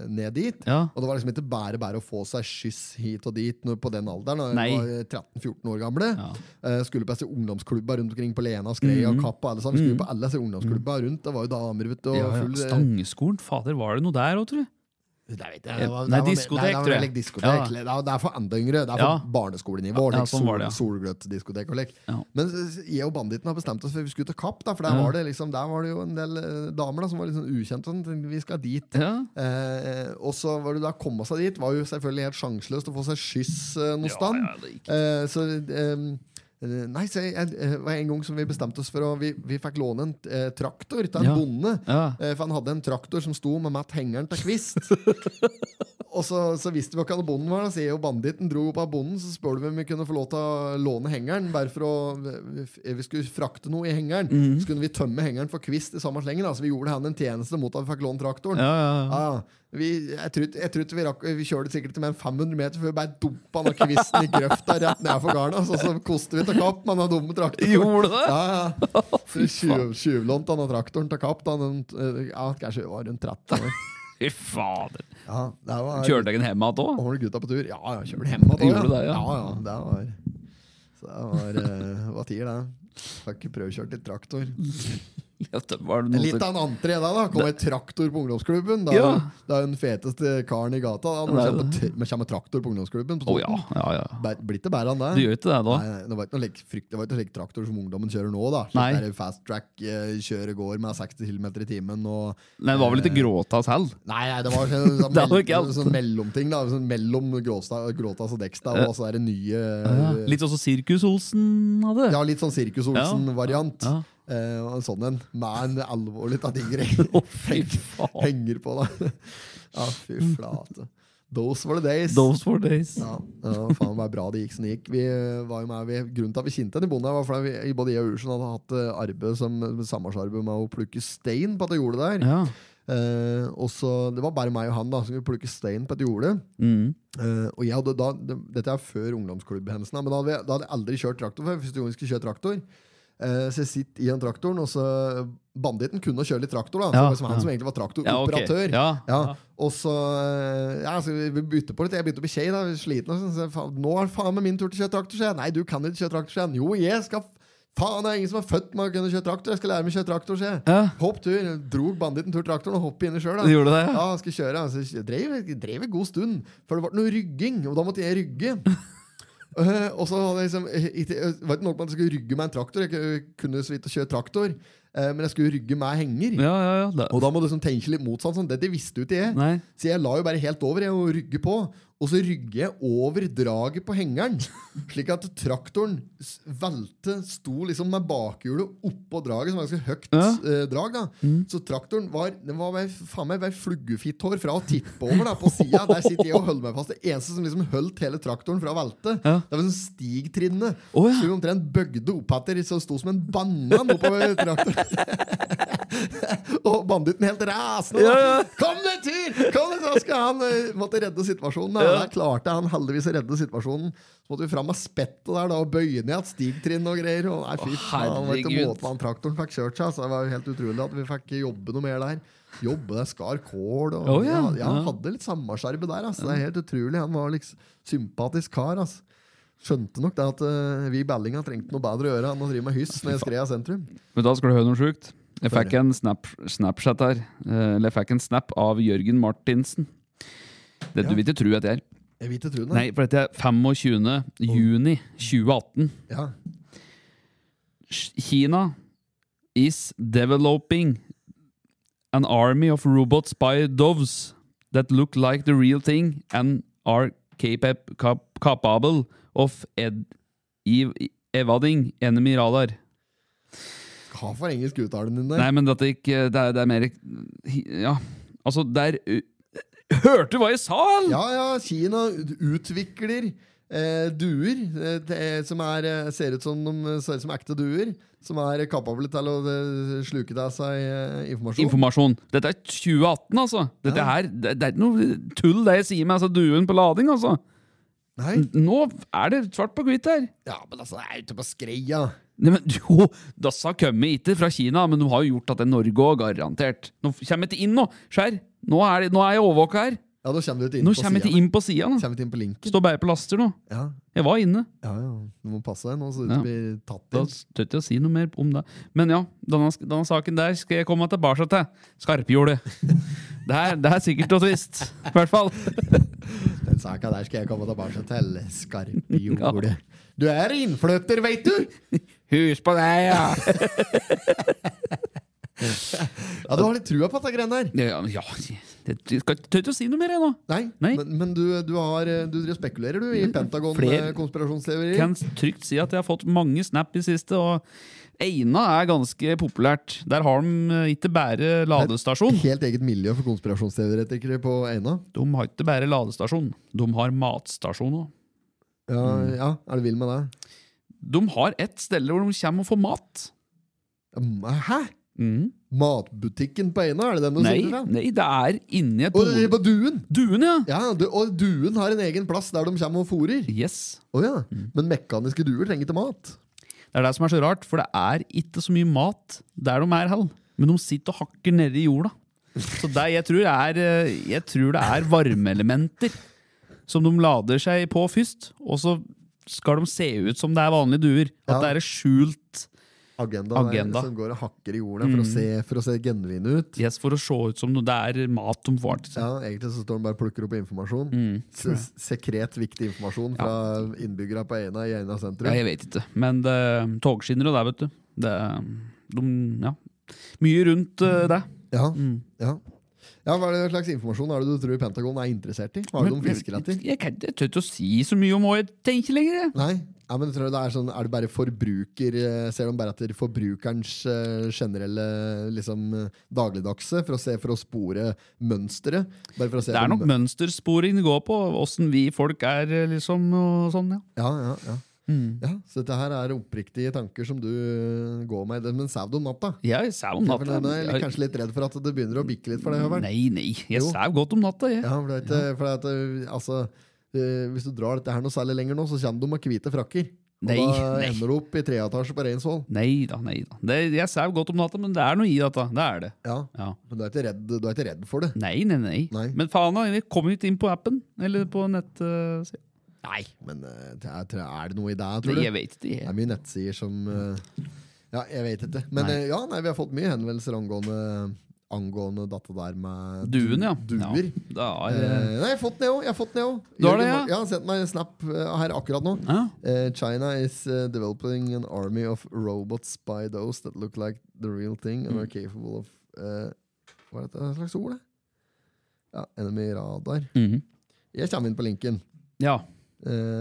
C: eh, ned dit.
B: Ja.
C: Og det var liksom ikke bare bare å få seg skyss hit og dit når, på den alderen. Da
B: Nei.
C: jeg var 13-14 år gamle.
B: Ja. Mhm.
C: Eh, skulle på disse ungdomsklubba rundt omkring på Lena, Skreia, Kapp og alle sammen. Skulle på alle disse ungdomsklubba rundt. Det var jo damer, vet du. Og
B: Ja, ja.
C: full,
B: Stangeskolen, fader, var det noe der òg, tror du?
C: Nei, vet jeg,
B: Nei,
C: det var- det var-
B: diskotek,
C: nei, det var
B: tror jeg.
C: vel diskotek. Det er- Det er for enda yngre. Det er for
B: Ja.
C: barneskolenivå.
B: Ja,
C: Ja,
B: sånn var det, ja.
C: Solgløttdiskotek og lek.
B: Ja.
C: Men s- s- jeg og banditten har bestemt oss for at vi skulle til Kapp, da, for der,
B: Ja.
C: var det liksom, der var det jo en del eh, damer da, som var litt sånn ukjente. og Sånn, tenkte vi skal dit.
B: Ja.
C: Eh, og så var det da å komme seg dit var jo selvfølgelig helt sjanseløst å få seg skyss eh, noe sted.
B: det gikk.
C: Eh, så eh, eh, Nei, se, jeg, eh, var en gang som vi bestemte oss for å Vi, vi fikk låne en eh, traktor til en
B: Ja.
C: bonde.
B: Ja.
C: Eh, For han hadde en traktor som sto med matt hengeren til kvist.
B: [laughs]
C: og så, så visste vi ikke hva bonden var. Da sier jo banditten dro opp av bonden, så spør du om vi kunne få lov til å låne hengeren. Bare for å vi, vi skulle frakte noe i hengeren.
B: Mhm.
C: Så kunne vi tømme hengeren for kvist i samme slengen. da. Så vi gjorde han en tjeneste mot at vi fikk lånt traktoren.
B: Ja, ja, ja.
C: Ja, Ah, vi, jeg trodde, jeg trodde vi, rakk, vi kjørte sikkert med en 500 meter før vi bare dumpa den kvisten i grøfta rett nedfor garna. Så, så koste vi til kapp med den dumme traktoren.
B: Gjorde det?
C: Ja, ja.
B: [laughs]
C: Så tjuv- Tjuvlånte han av traktoren til kapp da den, eh, ja, kanskje vi var rundt 13 år.
B: Fy fader.
C: Ja, det var
B: Kjørte deg en hjem igjen òg?
C: Var det gutta på tur? Ja, ja, kjørte hjem igjen.
B: Gjorde det, ja.
C: ja, ja, det var Så det var eh, Hva tider, det? Har ikke prøvkjørt litt traktor. Litt av en entré da, da. Kommer traktor på ungdomsklubben. Da,
B: Ja.
C: Det er jo den feteste karen i gata. Da. Når
B: Det er
C: det
B: jo
C: kommer, tra- men kommer traktor på ungdomsklubben. På
B: Å ja, ja, ja.
C: Bæ- Blir ikke bedre enn det.
B: Du gjør ikke det, da?
C: Nei, nei, det var ikke noe like frykt- det var ikke noe like traktor som ungdommen kjører nå. da Slik
B: Nei.
C: der Fast track, eh, kjører går med 60 km i timen. Og,
B: Nei, det var vel litt gråta selv?
C: nei, nei, det var
B: [laughs]
C: sånn, sånn,
B: Det var ikke
C: mell,
B: alt.
C: sånn mellomting. da sånn Mellom Gråsta- Gråtas og Dekstad, og så er det nye eh,
B: Litt sånn som Sirkus Olsen hadde?
C: Ja, litt sånn Sirkus Olsen-variant.
B: Ja.
C: Eh, og en sånn en. Med en alvorlig tatt
B: [laughs]
C: ingre.
B: Å, fy faen.
C: Henger på deg. [laughs] Ja, fy flate. Those were the days.
B: Those were days.
C: Ja, ja, faen det var bra det gikk som det gikk. Vi eh, var jo med, vi, grunnen til at vi kjente henne i bonden, her var fordi vi, både jeg og Ursen hadde hatt eh, arbeid som samarbeidsarbeid med å plukke stein på et jorde der.
B: Ja.
C: Eh, og så, Det var bare meg og han da som skulle plukke stein på et jorde.
B: Mm.
C: Eh, og jeg hadde da, det- Dette er før ungdomsklubbhendelsen, da, men da hadde, jeg- da hadde jeg aldri kjørt traktor før. Første gang jeg skulle kjøre traktor Eh, Så jeg sitter i den traktoren, og så Banditten kunne å kjøre litt traktor, da. Så
B: Ja,
C: det var som han
B: ja.
C: som egentlig var
B: Ja, ok.
C: traktoroperatør.
B: Ja, ja.
C: Og så eh, ja, så vi bytter på litt. Jeg begynte å bli kjei, da, sliten. Og sånn, så jeg, faen, nå er det faen meg min tur til å kjøre traktor, sier jeg. Nei, du kan ikke kjøre traktor, sier jeg. Jo, jeg skal Faen, det er ingen som er født med å kunne kjøre traktor. Jeg skal lære meg å kjøre traktor, sier jeg.
B: Ja.
C: Hopp tur. Drog banditten tur traktoren og hoppet inni sjøl, da.
B: Du gjorde det?
C: Ja, han skulle kjøre. Altså, jeg drev, jeg drev en god stund, for det ble noe rygging, og da måtte jeg
B: [laughs]
C: rygge. Eh, og så hadde jeg liksom eh, ikke- eh, var det ikke nok med at jeg skulle rygge med en traktor. Jeg ku- kunne så vidt kjøre traktor, eh, men jeg skulle rygge med henger.
B: Ja, ja, ja. Da.
C: Og da må du liksom tenke litt motsatt. Sånn. Dette visste jo ikke jeg.
B: Nei.
C: Så jeg la jo bare helt over jeg, og rygge på. Og så rygger jeg over draget på hengeren, slik at traktoren s- velte, sto liksom med bakhjulet oppå draget, som var ganske høyt
B: Ja. Mm.
C: eh, drag. da. Så traktoren var den var bare- faen meg bare fluggefitthår fra å tippe over da, på
B: [laughs]
C: sida. Der sitter jeg og holder meg fast. Det eneste som liksom holdt hele traktoren fra å velte,
B: Ja.
C: det var sånn stigtrinnet.
B: Å, ja.
C: Så vi omtrent bøgde oppetter, så det sto som en banan oppover traktoren. Og banditten helt rasende. da. Kom deg tur! Kom deg, så skal han eh, måtte redde situasjonen. Da. Der klarte han heldigvis å redde situasjonen. Så måtte vi fram med spettet der da, og bøye ned et stigtrinn og greier. Og nei, fy
B: Å,
C: faen, det var ikke
B: herregud.
C: måte han traktoren fikk kjørt seg. Så det var jo helt utrolig at vi fikk jobbe noe mer der. Jobbe, det skar kål og
B: Å, ja.
C: ja, ja, han
B: Ja.
C: hadde litt samarbeidsarbeid der. Altså. Det er helt utrolig. Han var liksom sympatisk kar. Altså. Skjønte nok det at eh, vi i Bellinga trengte noe bedre å gjøre enn å drive med hyss når jeg skrev sentrum.
B: Men da skal du høre noe sjukt. Jeg fikk en snap, Snapchat her. eh, Eller jeg fikk en snap av Jørgen Martinsen. Det du vil ikke tro at jeg er.
C: Jeg vil ikke tro det.
B: Nei, for dette er 25. juni 2018.
C: Ja.
B: Kina is developing an army of robots by doves that look like the real thing and are capab- cap- capable of ed ev evading enemy radar.
C: Hva for engelsk uttalen din der?
B: Nei, men dette gikk det, er- det er mer Ja, altså, der Hørte du hva jeg sa, eller?
C: Ja, ja, Kina utvikler eh, duer eh, det er- som er, eh, ser ut som de ser ut som ekte duer. Som er kapable til å eh, sluke til seg eh, informasjon.
B: Informasjon. Dette er 2018, altså. Dette her, det, det er ikke noe tull, det jeg sier med altså, duen på lading, altså.
C: Nei,
B: Nå er det svart på hvitt her.
C: ja, men altså, det er ute på skreia.
B: Nei, men [laughs] jo, Dassa kommer ikke fra Kina, men de har jo gjort at det er Norge òg, garantert. Nå kommer jeg ikke inn nå, skjær. Nå er, det, nå er jeg overvåka her.
C: Ja, nå kommer du ikke inn
B: Nå
C: på
B: kommer jeg
C: siden.
B: ikke inn på sida.
C: Kommer du ikke inn på linken?
B: Står bare på laster nå.
C: Ja,
B: Jeg var inne.
C: ja, ja. Du må passe deg nå, så du
B: Ja.
C: ikke blir tatt
B: Da
C: inn.
B: støtter jeg å si noe mer om det. Men ja, denne, denne saken der skal jeg komme tilbake til. Skarpjordet. [laughs] Det er, det er sikkert og trist. I hvert fall.
C: Den saka der skal jeg komme tilbake til.
B: [laughs]
C: Skarpjordet. Du er innflytter, veit du!
B: Hus på deg, ja!
C: Ja, Du har litt trua på dette greiene der.
B: [laughs] Ja, ja, Jeg skal ikke- tør ikke å si noe mer, jeg nå.
C: Nei,
B: Nei. Mm.
C: men, men du, du, har, du driver og spekulerer du i eh,
B: Flere-
C: Pentagon-konspirasjonsteorier.
B: Kan trygt si at jeg har fått mange snap i siste, og Eina er ganske populært. Der har de eh, ikke bare ladestasjon.
C: Helt eget miljø for konspirasjonsteoretikere på Eina.
B: De har ikke bare ladestasjon, de har matstasjon òg.
C: Ja,
B: Mm.
C: ja, Er du vill med det?
B: De har ett sted hvor de kommer og får mat.
C: Mm, Hæ?
B: Mm.
C: Matbutikken på Eina, er det den du
B: Nei,
C: sitter fra?
B: nei, det er inni et
C: Og det er
B: bord.
C: på Duen!
B: Duen, ja!
C: Ja, du, og Duen har en egen plass der de kommer og fôrer.
B: Yes.
C: Å ja.
B: Mm.
C: Men mekaniske duer trenger ikke mat.
B: Det er det som er så rart, for det er ikke så mye mat der de er hell. Men de sitter og hakker nedi jorda. Så det jeg tror, er, eh, jeg tror det er varmeelementer som de lader seg på først. Og så skal de se ut som det er vanlige duer. At
C: Ja.
B: det er et skjult
C: Agenda, der,
B: Agenda. Mm.
C: som går og hakker i jorda for, å se, for å se genuin ut.
B: yes, for å se ut som det er mat de får. til seg.
C: Ja, Egentlig så står den bare og plukker opp informasjon.
B: Mm.
C: Se- Sekret viktig informasjon fra innbyggere på Eina i Eina sentrum.
B: Ja, jeg vet ikke. Men det, togskinner og det, vet du. Det, de, ja. Mye rundt eh, det.
C: Ja, ja. ja Hva er det slags informasjon er det du tror Pentagon er interessert i? Hva er det de fisker etter?
B: Jeg, kan- jeg tør ikke å si så mye om hva jeg tenker lenger. jeg.
C: Nei, ja, men jeg tror det Er sånn, er det bare forbruker eh, Ser de bare etter forbrukerens eh, generelle liksom, eh, dagligdagse for å, se, for å spore mønsteret? Bare for å se
B: Det er
C: om-
B: nok mønstersporing det går på, åssen vi folk er, liksom. og sånn, ja.
C: Ja, ja, ja.
B: Mm.
C: ja, Så dette her er oppriktige tanker som du eh, går med. Men sov du om natta?
B: Jeg sau om
C: Ja, for
B: natta.
C: den er
B: Jeg-
C: litt- kanskje litt redd for at det begynner å bikke litt for deg? Håvard.
B: Nei, nei.
C: Jo.
B: Jeg sau godt om natta, jeg.
C: Ja, for det er ikke, for det er at, altså, eh, hvis du drar dette her noe særlig lenger nå, så kommer du med hvite frakker. Og
B: Nei,
C: da
B: nei.
C: ender du opp i treetasje på Reinsvoll.
B: Nei da, nei da. Det, jeg sau godt om natta, men det er noe i dette. Det er det.
C: Ja,
B: Ja.
C: men du er ikke redd, du er ikke redd for det?
B: Nei, nei, nei.
C: Nei.
B: Men faen, da, vi kom ikke inn på appen. Eller på nett... eh, siden.
C: Nei. Men eh, det er, tror jeg- er det noe i deg, tror
B: Nei,
C: du?
B: jeg vet ikke.
C: Det er
B: Jeg.
C: mye nettsider som eh, Ja, jeg vet ikke. Men
B: Nei.
C: eh, ja, nei, vi har fått mye henvendelser angående, angående dette der med
B: Duen, ja.
C: duer.
B: Ja, da
C: Eh,
B: er, det-
C: nei, jeg har fått den, jeg òg. Jeg har fått den, jeg også.
B: Du har det,
C: Jørgen
B: ja?
C: Mar- Ja, Sendt meg en snap eh, her akkurat nå.
B: Ja.
C: Eh, China is eh, developing an army of robot spy those that look like the real thing and are capable of eh, Hva er dette slags ord, det? Ja, enemy radar.
B: Mhm.
C: Jeg kommer inn på linken.
B: ja.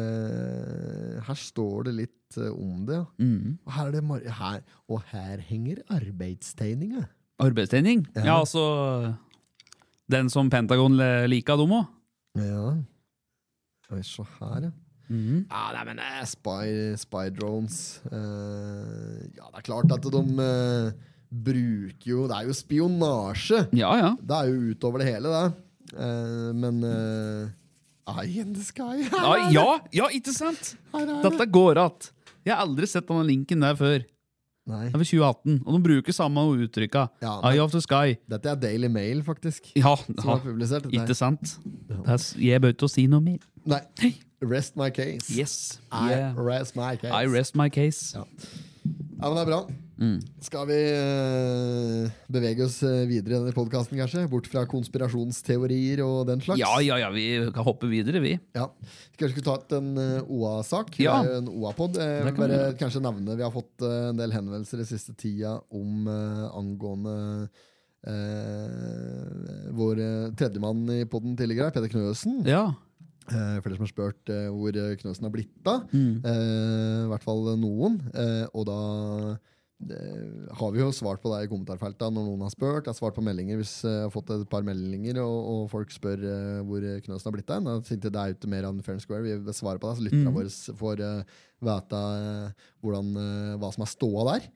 C: Eh, her står det litt eh, om det. ja.
B: Mhm.
C: Og her, er det mar- her, og her henger arbeidstegninga.
B: Arbeidstrening? Ja. altså Den som Pentagon le- liker, dem òg?
C: Ja. Oi, se her, ja.
B: Mhm.
C: Ja, nei, men eh, spy, spy drones eh, Ja, det er klart at de eh, bruker jo Det er jo spionasje!
B: Ja, ja.
C: Det er jo utover det hele, det. Eh, men uh, Eye in the sky! [laughs]
B: Ja, ja, ja ikke sant?
C: Her er det.
B: Dette går att. Jeg har aldri sett denne linken der før.
C: Nei,
B: Det er fra 2018, og de bruker samme uttrykka.
C: Ja, men-
B: Eye of the sky.
C: dette er Daily Mail, faktisk.
B: Ja,
C: Som
B: ja
C: har publisert dette.
B: ikke
C: her.
B: sant? Det er, s- jeg bør ikke å si noe mer.
C: Nei. Rest my case.
B: Yes.
C: I
B: Yeah.
C: rest my case.
B: I rest my case.
C: Ja. Ja, men det er bra.
B: Mm.
C: Skal vi eh, bevege oss eh, videre i denne podkasten, kanskje? Bort fra konspirasjonsteorier og den slags?
B: Ja, ja, ja, vi kan hoppe videre, vi.
C: Ja. Kanskje vi skulle ta ut en eh, OA-sak?
B: Ja.
C: Det er jo en OA-pod. Eh,
B: Det kan
C: Bare
B: vi
C: kanskje nevne Vi har fått eh, en del henvendelser den siste tida om eh, angående eh, vår eh, tredjemann i poden tidligere, Peder Knøsen.
B: Ja.
C: Eh, for dere som har spurt eh, hvor eh, Knøsen har blitt av.
B: Mm.
C: Eh, I hvert fall noen. Eh, og da eh, har vi jo svart på det i kommentarfeltet når noen har spurt. Jeg har svart på meldinger hvis eh, jeg har fått et par meldinger og, og folk spør eh, hvor eh, Knøsen har blitt av. Da tenkte jeg det er ute mer enn fair and square. Vi svarer på det, så lytterne våre får eh, vite eh, hvordan, eh, hva som er ståa der.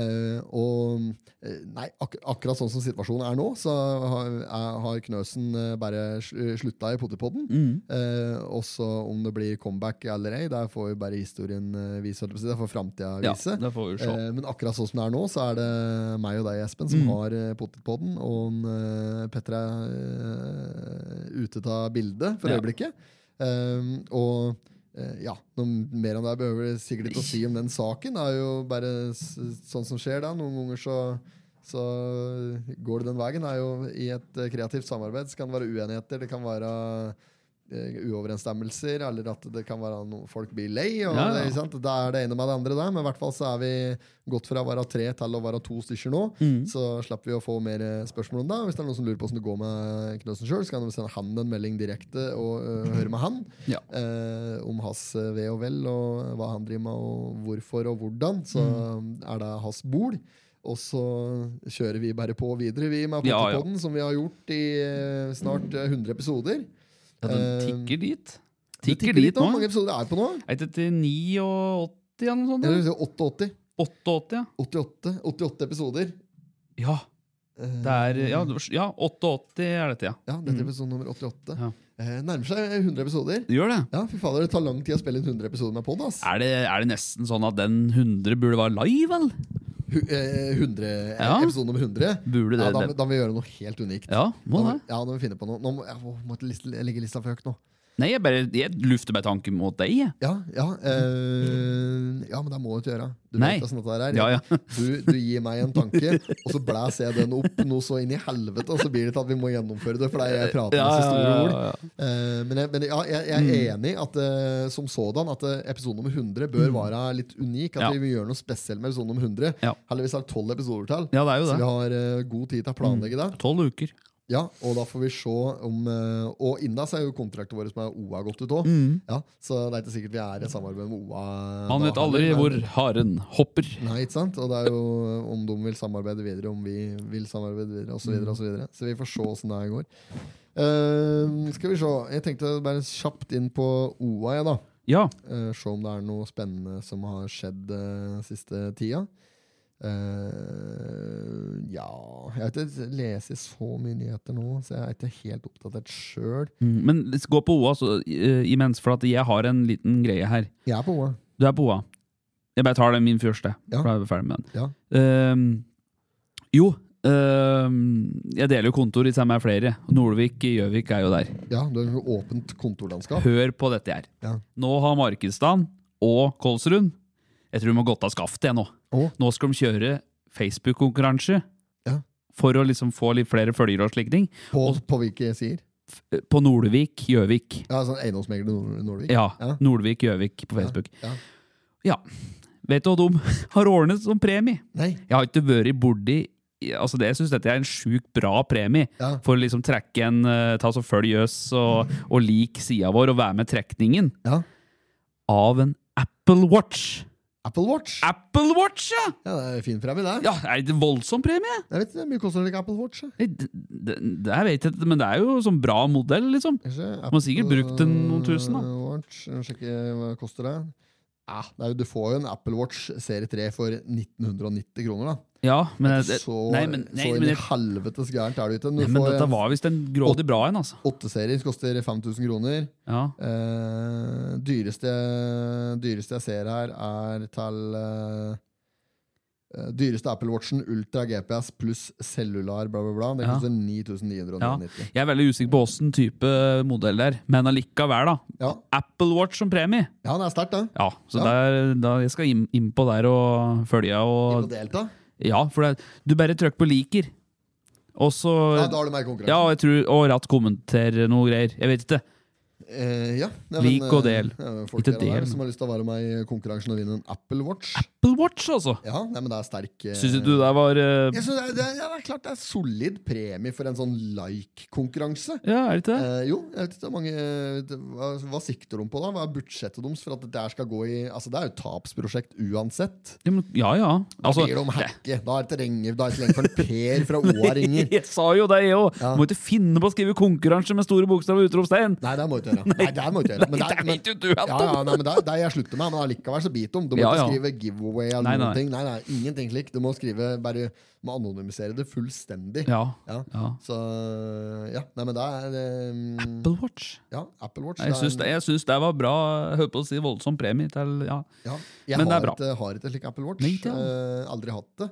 C: Eh, og eh, nei, ak akkurat sånn som situasjonen er nå, så har, er, har Knøsen eh, bare sl slutta i potipodden. Eh, også om det blir comeback eller ei, der får jo bare historien eh, vise. holdt jeg på å si. Det får framtida
B: Ja,
C: vise.
B: det får vi se.
C: Eh, men akkurat sånn som det er nå, så er det meg og deg, Espen, som har eh, potipodden. Og eh, Petter er eh, ute av bildet for
B: Ja.
C: øyeblikket. Eh, og Eh, Ja, noe mer om det behøver jeg sikkert ikke å si om den saken. Det er jo bare s- sånn som skjer da. Noen ganger så, så går det den veien. Det er jo I et eh, kreativt samarbeid så kan det være uenigheter. Det kan være eh, uoverensstemmelser, eller at det kan være noe folk blir lei. Og
B: Ja, ja.
C: Det, ikke sant? Da er det ene med det andre, der, men i hvert fall så er vi gått fra å være tre til å være to stykker nå.
B: Mm.
C: Så slipper vi å få mer eh, spørsmål om det. Hvis det er noen som lurer på hvordan det går med Knøsen sjøl, så kan de sende han en melding direkte og eh, høre med han
B: Ja.
C: eh, om hans eh, ve og vel, og hva han driver med, og hvorfor og hvordan. Så
B: Mm.
C: er det hans bol. Og så kjører vi bare på videre, vi med
B: Ja, ja.
C: Potterpodden, som vi har gjort i eh, snart eh, 100 episoder. Eh,
B: Ja, den tikker dit. Tikker,
C: litt
B: dit
C: nå.
B: nå.
C: Hvor mange episoder er det på nå?
B: Er det til 89 eller noe sånt?
C: Jeg vil
B: eller?
C: si 88.
B: 88, ja.
C: 88, 88 episoder.
B: Ja,
C: Eh,
B: det er, ja, det var- ja 88 er dette, ja.
C: Ja, dette er episode nummer 88.
B: Mm. Ja.
C: Eh, nærmer seg 100 episoder.
B: Gjør det.
C: Ja, fy fader, Det tar lang tid å spille inn 100 episoder med pod. ass.
B: Er det, er det nesten sånn at den 100 burde være live, eller?
C: Hu- eh, 100, eh,
B: Ja.
C: Episode nummer 100. Ja,
B: Burde det,
C: da,
B: det-
C: må- da må vi gjøre noe helt unikt.
B: Ja, må
C: da, må-
B: det.
C: ja, da må vi finne på noe. Nå må jeg, å, må jeg liste- legge lista for høyt nå.
B: Nei, jeg bare jeg lufter bare tanken mot deg. jeg.
C: Ja, ja, eh, ja men det må du ikke gjøre. Du
B: Nei.
C: vet jo sånn at det er.
B: Ja, ja.
C: [laughs] Du, du gir meg en tanke, og så blæser jeg den opp noe så inn i helvete, og så blir det til at vi må gjennomføre det, for det er jeg prater med
B: Ja,
C: så store
B: ja, ja,
C: ord.
B: ja.
C: Eh, men jeg, men ja, jeg, jeg er
B: Mm.
C: enig at eh, som sådan at eh, episode nummer 100 bør være litt unik. At
B: Ja.
C: vi vil gjøre noe spesielt med episode nummer 100.
B: Ja.
C: Heldigvis er det tolv episoder til,
B: Ja, det er jo
C: så vi
B: det. Mm.
C: har eh, god tid til å planlegge det.
B: Tolv uker.
C: Ja, og da får vi se om eh, Og innas er jo kontrakten vår som er OA gått ut òg. Ja, så det er ikke sikkert vi er i samarbeid med OA.
B: Mm. Man
C: da
B: vet aldri
C: heller,
B: hvor
C: men-
B: haren hopper.
C: Nei, ikke sant? Og det er jo om de vil samarbeide videre, om vi vil samarbeide videre, osv. Så, videre, og så, videre. så vi får se åssen det her går. Eh, skal vi se. Jeg tenkte bare kjapt inn på OA, jeg, da.
B: Ja.
C: Eh, se om det er noe spennende som har skjedd eh, siste tida. Eh, ja Jeg har ikke lest så mye nyheter nå, så jeg er ikke helt oppdatert sjøl.
B: Mm, Men let's gå på OA så, eh, imens, for at jeg har en liten greie her.
C: Jeg er på OA.
B: Du er på OA. Jeg bare tar den min første.
C: Ja.
B: For da er vi ferdig med den.
C: Ja.
B: Ehm, jo, ehm, jeg deler jo kontor i sammen med flere. Nordvik i Gjøvik er jo der.
C: Ja, du har jo åpent kontorlandskap.
B: Hør på dette her.
C: Ja.
B: Nå har Markedsdagen og Kolsrund Jeg tror de har gått av skaftet jeg nå.
C: Å.
B: Nå skal de kjøre Facebook-konkurranse
C: Ja.
B: for å liksom få litt flere følgere og slike ting.
C: På, på hvilke sider?
B: F- På Nordvik, Gjøvik.
C: Ja, sånn Eiendomsmegler Nord- Nordvik?
B: Ja,
C: Ja.
B: Nordvik, Gjøvik på Facebook.
C: Ja.
B: Ja. Vet du hva de [laughs] har ordnet som premie?
C: Nei.
B: Jeg har ikke vært borti Altså det, Jeg syns dette er en sjukt bra premie.
C: Ja.
B: For å liksom trekke en eh, Ta så følg oss og, og lik sida vår og være med i trekningen
C: Ja.
B: av en Apple Watch.
C: Apple Watch.
B: Apple Watch, ja!
C: Ja, det er fin premie, det.
B: ja er det voldsom premie?
C: Jeg vet ikke, det er mye koster ikke Apple Watch. jeg.
B: Nei, Det, det, det jeg vet jeg ikke, men det er jo sånn bra modell, liksom.
C: Kanskje
B: har sikkert
C: Apple
B: brukt den noen tusen, da.
C: Watch, jeg sjekker hva det koster det. Ja, det er jo, du får jo en Apple Watch serie 3 for 1990 kroner, da.
B: Ja, men jeg,
C: Så,
B: Nei, men, nei,
C: så inn
B: men,
C: i
B: jeg,
C: helvetes gærent er det ikke. Du
B: nei, men
C: får
B: dette
C: en
B: var visst en grådig bra en, altså.
C: 8-serie som koster 5000 kroner.
B: Ja.
C: Eh, dyreste, dyreste jeg ser her, er til eh, eh, Dyreste Apple Watchen, Ultra GPS pluss cellular, bla, bla, bla. Det
B: Ja.
C: koster 9999.
B: Jeg er veldig usikker på åssen type modell det er, men allikevel, da.
C: Ja.
B: Apple Watch som premie!
C: Ja. det er sterkt, det.
B: Ja, så
C: Ja.
B: Der, da, jeg skal inn- innpå der og følge
C: Ikke å
B: og
C: delta.
B: Ja, for det, du bare trykk på liker, og så
C: Ja, da har du mer konkurranse.
B: Ja, og jeg tror, og ratt kommentere noe greier. Jeg vet ikke.
C: Eh, ja. Nei,
B: Lik
C: men,
B: og
C: eh,
B: del.
C: ja, men folk
B: Ikke
C: der og der
B: del.
C: som har lyst til å være med i konkurransen og vinne en Apple Watch.
B: Apple Watch, altså!
C: Ja, nei, men det er sterk eh,
B: Syns du det var eh,
C: Jeg synes det, er- det, er- ja, det er klart det er solid premie for en sånn like-konkurranse.
B: Ja, er det ikke det?
C: Eh, jo, jeg vet ikke hvor mange eh, det- hva, hva sikter de på da? Hva er budsjettet deres for at det der skal gå i Altså, det er jo et tapsprosjekt uansett.
B: Ja, men- Ja, ja. Altså,
C: Blir de hacke, da er det ikke lenger- da er det ikke lenger for en Per fra OA
B: [laughs]
C: ringer.
B: jeg sa jo det, jeg òg!
C: Ja.
B: Må ikke finne på å skrive konkurranse med store bokstaver og utropstegn!
C: Nei, det må du ikke gjøre. Nei, det må du ikke gjøre. Men
B: Nei, det
C: men-
B: vet jo du, Anton.
C: Ja, ja, nei, men det, er- det er jeg slutter med, men allikevel så biter de. Du må
B: Ja,
C: ikke
B: ja.
C: skrive giveaway eller
B: Nei,
C: noen
B: nei.
C: ting. Nei, nei, ingenting slik. Du må skrive, bare du må anonymisere det fullstendig.
B: Ja.
C: Ja.
B: ja.
C: Så ja, nei, men det er eh,
B: Apple Watch.
C: Ja, Apple Watch.
B: Nei, Jeg
C: det er-
B: syns det, jeg syns det var bra. Jeg Hører på å si voldsom premie til ja.
C: Ja, jeg
B: Men det er
C: har,
B: bra.
C: Ikke, har ikke slik Apple Watch.
B: Nei, ikke jeg.
C: Eh, aldri hatt det.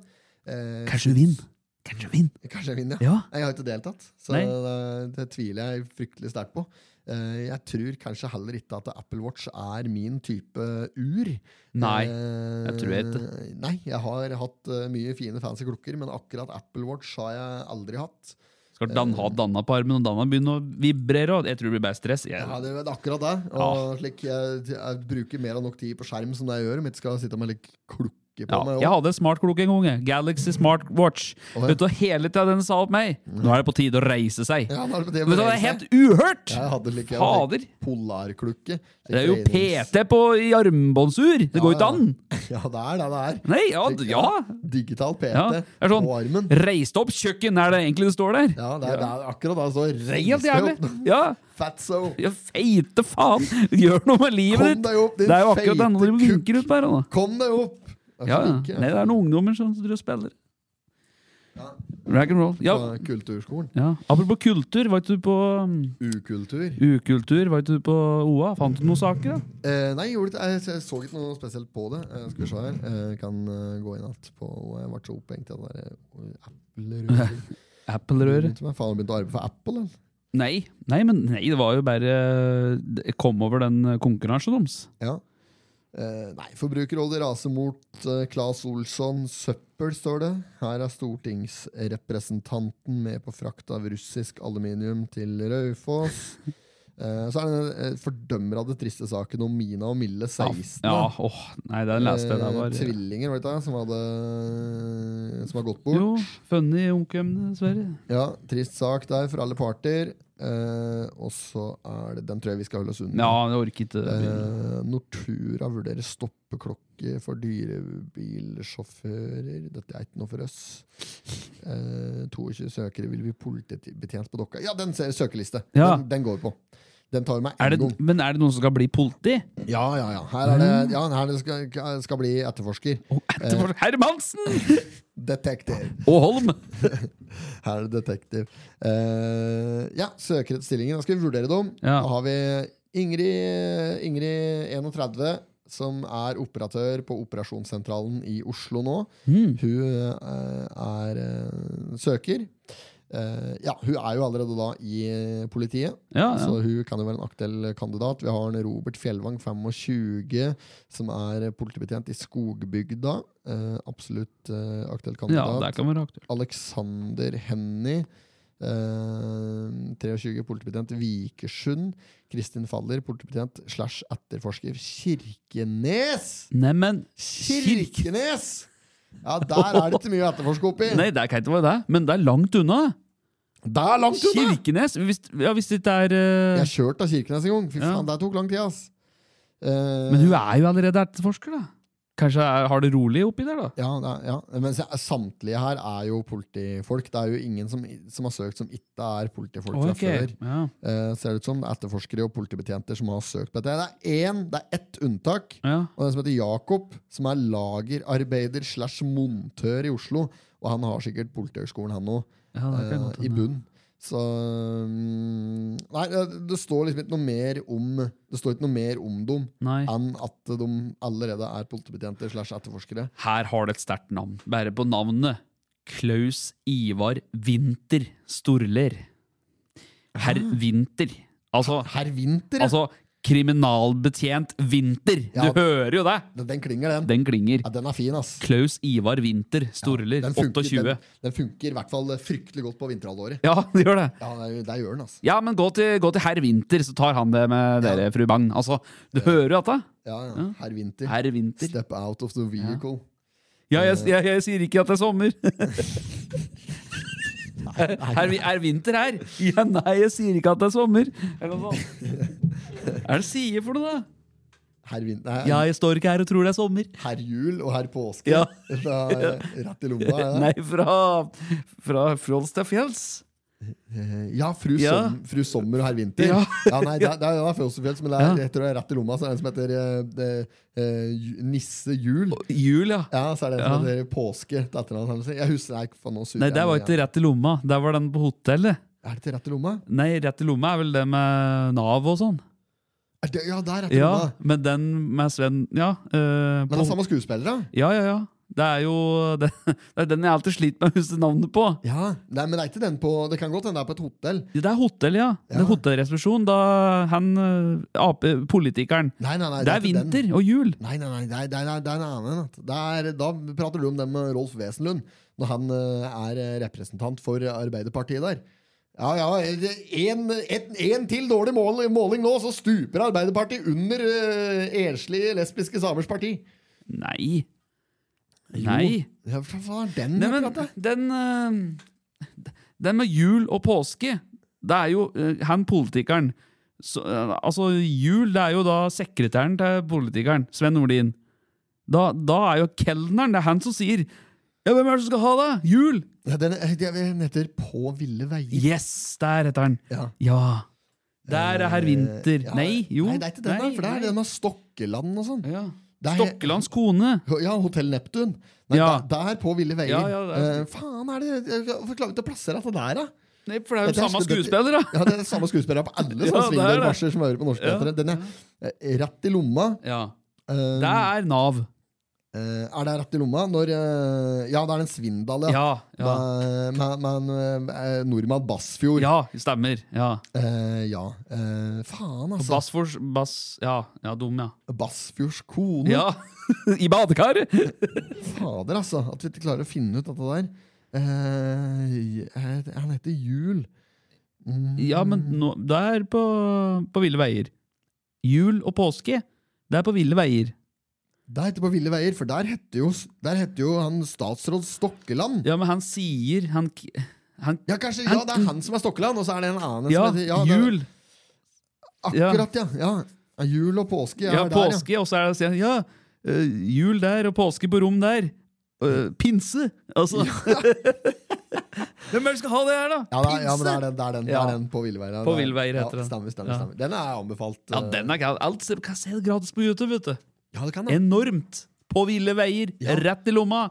C: Eh,
B: Kanskje du vinner. Kanskje du vinner.
C: Kanskje jeg vinner,
B: Ja.
C: Nei, Jeg har ikke deltatt, så
B: Nei.
C: det, det tviler jeg fryktelig sterkt på. Eh, jeg tror kanskje heller ikke at Apple Watch er min type ur.
B: Nei,
C: Eh,
B: jeg tror ikke.
C: Nei, jeg har hatt eh, mye fine fancy klokker, men akkurat Apple Watch har jeg aldri hatt.
B: Klart, Dan har danna på armen, og danna begynner å vibrere. Og jeg tror det blir bare stress. Jeg,
C: Ja, det er akkurat det. Og slik, jeg, jeg bruker mer enn nok tid på skjerm som det jeg gjør, om jeg ikke skal sitte med litt klukke på
B: ja,
C: meg.
B: jeg
C: også.
B: hadde en smartklokke en gang. jeg. Galaxy Smart Watch.
C: Å, ja. Mm.
B: Vet du, og hele tida den sa opp meg. Nå er det på tide å reise seg.
C: Ja, da er det på tide å
B: Vet du, det
C: bevege
B: er
C: seg.
B: helt uhørt!
C: Jeg hadde like, jeg hadde
B: Fader!
C: polarklukke.
B: Det er jo
C: Trenings-
B: PT på i armbåndsur! Det går jo
C: Ja,
B: ikke an!
C: Ja, det er det det er.
B: Nei, ja,
C: Slik,
B: d- ja.
C: Digital PT
B: ja. Det er
C: på
B: sånn
C: armen.
B: Reis deg opp, kjøkken! Er det egentlig det står der?
C: Ja, det er, det er akkurat da så
B: Helt
C: reis deg
B: jævlig!
C: opp.
B: Ja.
C: Fatso.
B: ja, feite faen! Gjør noe med livet
C: Kom
B: ditt!
C: deg opp, din
B: Det er jo akkurat det andre de
C: feite kukk.
B: vinker ut på her. Da.
C: Kom deg opp! Det er så
B: Ja, ja.
C: like.
B: Nei, det er noen ungdommer som driver og spiller. Rock'n'roll. Ja.
C: Fra Kulturskolen.
B: ja. Apropos kultur, var ikke du på um,
C: Ukultur.
B: ukultur? Var ikke du på OA? Fant du noen saker, da?
C: Eh, nei, jeg, gjorde ikke, jeg, jeg så ikke noe spesielt på det. Eh, skal vi se her. Eh, jeg kan eh, gå inn igjen på Jeg ble så opphengt i den der eh, Apple-røret.
B: [laughs] Apple-røret?
C: Som jeg faen begynte å arbeide for Apple. altså. eller?
B: Nei. nei, men nei, det var jo bare Jeg kom over den eh, konkurransen deres.
C: Ja. Eh, nei, Forbrukerrådet raser mot eh, Claes Olsson. Søppel, står det. Her er stortingsrepresentanten med på frakt av russisk aluminium til
B: [laughs]
C: Raufoss. Eh, så er det den eh, fordømmer av det triste saken om Mina og Mille 16.
B: Ah, Ja, åh, nei, den leste jeg. Det
C: Eh,
B: var
C: Tvillinger, var det ikke det? Som hadde Som har gått bort.
B: Jo, funny onkel, dessverre.
C: Ja, Trist sak der for alle parter. Eh, og så er det Den tror jeg vi skal holde oss unna.
B: Ja, jeg orker ikke.
C: Eh, Nortura vurderer stoppeklokke for dyrebilsjåfører. Dette er ikke noe for oss. Eh, 22 søkere vil bli politibetjent på Dokka. Ja, den ser søkeliste!
B: Ja.
C: Den, den går på. Den tar vi med
B: Er
C: en
B: det,
C: gang.
B: men er det noen som skal bli politi?
C: Ja, ja, ja. Her, er det,
B: Mm.
C: ja, her det skal, skal bli etterforsker.
B: [laughs] Å,
C: Eh.
B: etterfor- Hermansen
C: Detektiv.
B: og Holm!
C: Her er det detektiv. Eh, ja, søker etter stillingen. Da skal vi vurdere dem.
B: Ja.
C: Da har vi Ingrid, Ingrid 31, som er operatør på operasjonssentralen i Oslo nå. Hun eh, er eh, søker. Eh, ja, hun er jo allerede da i eh, politiet,
B: Ja, ja.
C: så hun kan jo være en aktuell kandidat. Vi har en Robert Fjellvang, 25, som er politibetjent i Skogbygda. Eh, absolutt eh, aktuell
B: ja,
C: kandidat.
B: der kan være aktuelt.
C: Alexander Henny. eh, 23, politibetjent Vikersund. Kristin Faller, politibetjent slash etterforsker Kirkenes!
B: Neimen kirk-
C: Kirkenes! Ja, der er det ikke mye å etterforske oppi.
B: Nei, det kan ikke være det, men det er langt unna.
C: Det er langt unna!
B: Kirkenes? Hvis, ja, hvis det ikke er eh,
C: Jeg kjørte av Kirkenes en gang. Fy
B: Ja.
C: faen, det tok lang tid, ass. Eh,
B: Men hun er jo allerede etterforsker, da. Kanskje er, har det rolig oppi der, da?
C: Ja, det er- ja. men se- samtlige her er jo politifolk. Det er jo ingen som, som har søkt som ikke er politifolk fra
B: Ok,
C: før.
B: Ja.
C: Eh, ser det ut som det er etterforskere og politibetjenter som har søkt på dette. Det er én, det er ett unntak,
B: Ja.
C: og den som heter Jakob, som er lagerarbeider slash montør i Oslo. Og han har sikkert Politihøgskolen, han òg,
B: Ja, det kan godt
C: eh, i
B: hende.
C: bunn. Så mm, Nei, det- det står liksom ikke noe mer om Det står ikke noe mer om dem
B: Nei.
C: enn at de allerede er politibetjenter slash etterforskere.
B: Her har det et sterkt navn. Bare på navnet. Klaus Ivar Winter Storler. Herr
C: Ah.
B: Winter. Altså,
C: Herr Winter, ja.
B: altså kriminalbetjent Winter. Du
C: Ja.
B: hører jo det!
C: den, den klinger, den.
B: Den klinger.
C: Ja, den er fin, ass.
B: Klaus Ivar Winter Storler.
C: Den funker,
B: 28.
C: den, den funker i hvert fall fryktelig godt på vinterhalvåret.
B: Ja, [laughs] det gjør det.
C: Ja, det, det gjør den, altså.
B: Ja, men gå til, gå til herr Winter, så tar han det med dere, fru Bang. Altså, du hører jo dette?
C: Ja, ja. Herr Winter.
B: Herr Winter.
C: Step out of the vehicle.
B: [laughs] Ja, jeg, jeg, jeg sier ikke at det er [laughs] sommer. Er, vi- er vinter her? Ja, nei, jeg sier ikke at det er sommer. Er det noe sånt? [laughs] Er det sier for noe, da?
C: Herr Winter. Nei,
B: Ja, jeg står ikke her og tror det er sommer.
C: Herr Jul og herr Påske.
B: Ja.
C: [laughs] Da, rett i lomma. Ja,
B: [laughs] Nei, fra, fra Frols til fjells.
C: ja, fru,
B: Ja.
C: Som, fru Sommer og herr Winter.
B: Ja.
C: nei, det, er- det er, det er Frozenfjells, men det er, jeg tror det er rett i lomma. Så er det en som heter eh, det, eh, Ju- Nisse Jul.
B: Jul, ja.
C: Ja, så er det en som
B: Ja.
C: heter Påske. til etternavn, eller noe sånt. Jeg husker nei, faen, nå suger
B: Nei,
C: jeg
B: der var
C: meg
B: ikke rett i lomma. Der var den på hotellet.
C: igjen. Er det til rett i lomma?
B: Nei, rett i lomma er vel det med Nav og sånn.
C: Er det, ja, det er rett i
B: Ja,
C: lomma.
B: men den med Sven Ja. eh,
C: Men det
B: på-
C: er samme skuespillere.
B: ja, ja, ja. Det er jo [laughs] det, det er den jeg alltid sliter med å huske navnet på.
C: Ja, nei, men det er ikke den på Det kan godt hende det er på et hotell.
B: Ja, Det er hotell, ja. Det er hotellresepsjon. Da han eh, ap politikeren
C: Nei, nei, nei,
B: Det er
C: ikke den.
B: vinter og jul.
C: Nei, nei, nei, det er, det er, det er en annen. at Det er, da prater du om det med Rolf Wesenlund, når han eh, er representant for eh, Arbeiderpartiet der. Ja, ja. En, et, en til dårlig mål, måling nå, så stuper Arbeiderpartiet under uh, enslige lesbiske samers parti.
B: Nei. Nei.
C: Ja, hva faen er den?
B: Nei,
C: her,
B: men
C: Katte?
B: den, eh, den med jul og påske, det er jo eh, han politikeren så, eh, Altså, jul, det er jo da sekretæren til politikeren, Sven Nordin. Da, da er jo kelneren, det er han som sier Ja, hvem er det som skal ha det? Jul!
C: ja, den, eh, den heter På ville veier.
B: Yes, der heter han.
C: Ja. Eh,
B: Ja. Der er herr Winter.
C: Ja,
B: Nei, jo.
C: Nei, det er ikke den,
B: Nei,
C: da, for det
B: nei.
C: er den av Stokkeland og sånn.
B: ja.
C: Det er-
B: Stokkelands kone.
C: Ja, Hotell Neptun. Nei,
B: Ja.
C: da- Der på ville veier.
B: Ja, ja, det er-
C: Eh, faen, er det Hvorfor klarer vi ikke å plassere dette der, da?
B: Nei, for det er jo
C: Dette er sku-
B: samme
C: dette-
B: skuespiller, da.
C: Ja, det er det samme skuespillere på alle
B: [laughs] Ja,
C: sånne
B: det er det.
C: svingdørmarsjer som øver på norske
B: Ja.
C: teatre. Den er eh, rett i lomma.
B: Ja.
C: Eh,
B: Det er Nav.
C: Eh, er det rett i lomma? Når, eh, ja, det er den Svindal, ja.
B: Ja. ja.
C: Med, med, med, eh, nordmann Bassfjord.
B: Ja, stemmer. Ja.
C: Eh, ja. Eh, faen, altså.
B: Bassfors Bass... Ja, ja dum, ja.
C: Bassfjords kone.
B: Ja, [laughs] I badekaret!
C: Hm. Fader, altså. At vi ikke klarer å finne ut dette der. Eh, jeg- han heter Jul.
B: Ja, men nå, det er på, på ville veier. Jul og påske, det er på ville veier.
C: Det heter På ville veier, for der heter jo, der heter jo han statsråd Stokkeland.
B: Ja, men han sier Han, k- han
C: Ja, kanskje, ja, det er han som er Stokkeland, og så er det en annen
B: Ja,
C: som heter det er-
B: jul!
C: Akkurat, ja. ja. Ja, Jul og påske. Ja,
B: Ja,
C: der,
B: påske, og så er det sier han ja, eh, jul der og påske på rom der. Eh, pinse! Altså [laughs] Hvem er det som skal ha det her, da?
C: Ja, det er, ja, men det er den, det er den, det
B: Ja.
C: er den på Villeveier.
B: På Villeveier heter
C: ja,
B: den.
C: Stemmer, stemmer,
B: Ja.
C: stemmer. Den er anbefalt.
B: Ja,
C: eh,
B: den er gal. Alt ser- kan se gratis på YouTube, vet du.
C: ja, det kan det.
B: Enormt! På ville veier,
C: Ja.
B: rett i lomma.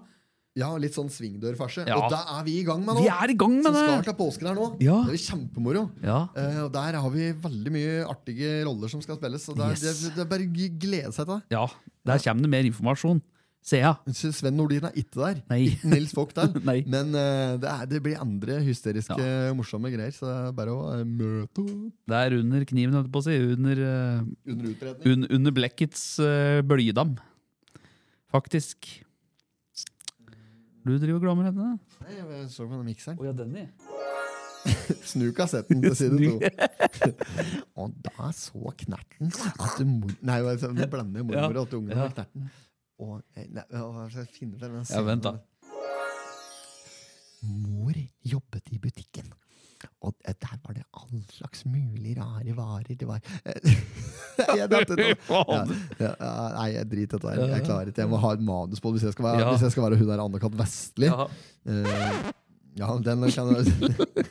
C: Ja, litt sånn svingdørfarse.
B: Ja.
C: Og det er vi i gang med nå.
B: Vi er i
C: Så
B: gang med
C: start
B: det!
C: av påsken her nå.
B: Ja.
C: Det blir kjempemoro.
B: Ja.
C: Eh, og der har vi veldig mye artige roller som skal spilles. Så det er,
B: Yes.
C: det, det er bare å glede seg til det.
B: ja, der kommer det mer informasjon. Ser jeg.
C: Så Sven Nordin er ikke der. [laughs]
B: Nei.
C: Nils Vogt der.
B: [laughs] Nei.
C: Men eh, det, er, det blir andre hysteriske, morsomme greier. Så det er bare å eh, møte opp.
B: Det er under kniven, holdt jeg på å si. Under, eh,
C: under utredning.
B: un, under blekkets eh, blydam. Faktisk. Du driver og glemmer henne?
C: Nei, jeg så på den mikseren.
B: Å ja, den,
C: Snu kassetten til side to. [laughs] og da så knerten at du mor... Nei, hva er det, nå blander jeg mormor og at ungene
B: Ja.
C: med knerten. Og, eh, nei, hva skal jeg finne frem den
B: Ja, vent da.
C: Mor jobbet i butikken. Og eh, der var det all slags mulig rare varer. Det var [laughs] Eh, jeg datt
B: [laughs]
C: ut nå. ja, ja, ja, Nei, jeg driter i dette her. Jeg klarer ikke. Jeg må ha et manus på det hvis jeg skal være,
B: Ja.
C: hvis jeg skal være hun der Anne-Kat. Vestli.
B: ja.
C: Eh, ja, den kan du [laughs]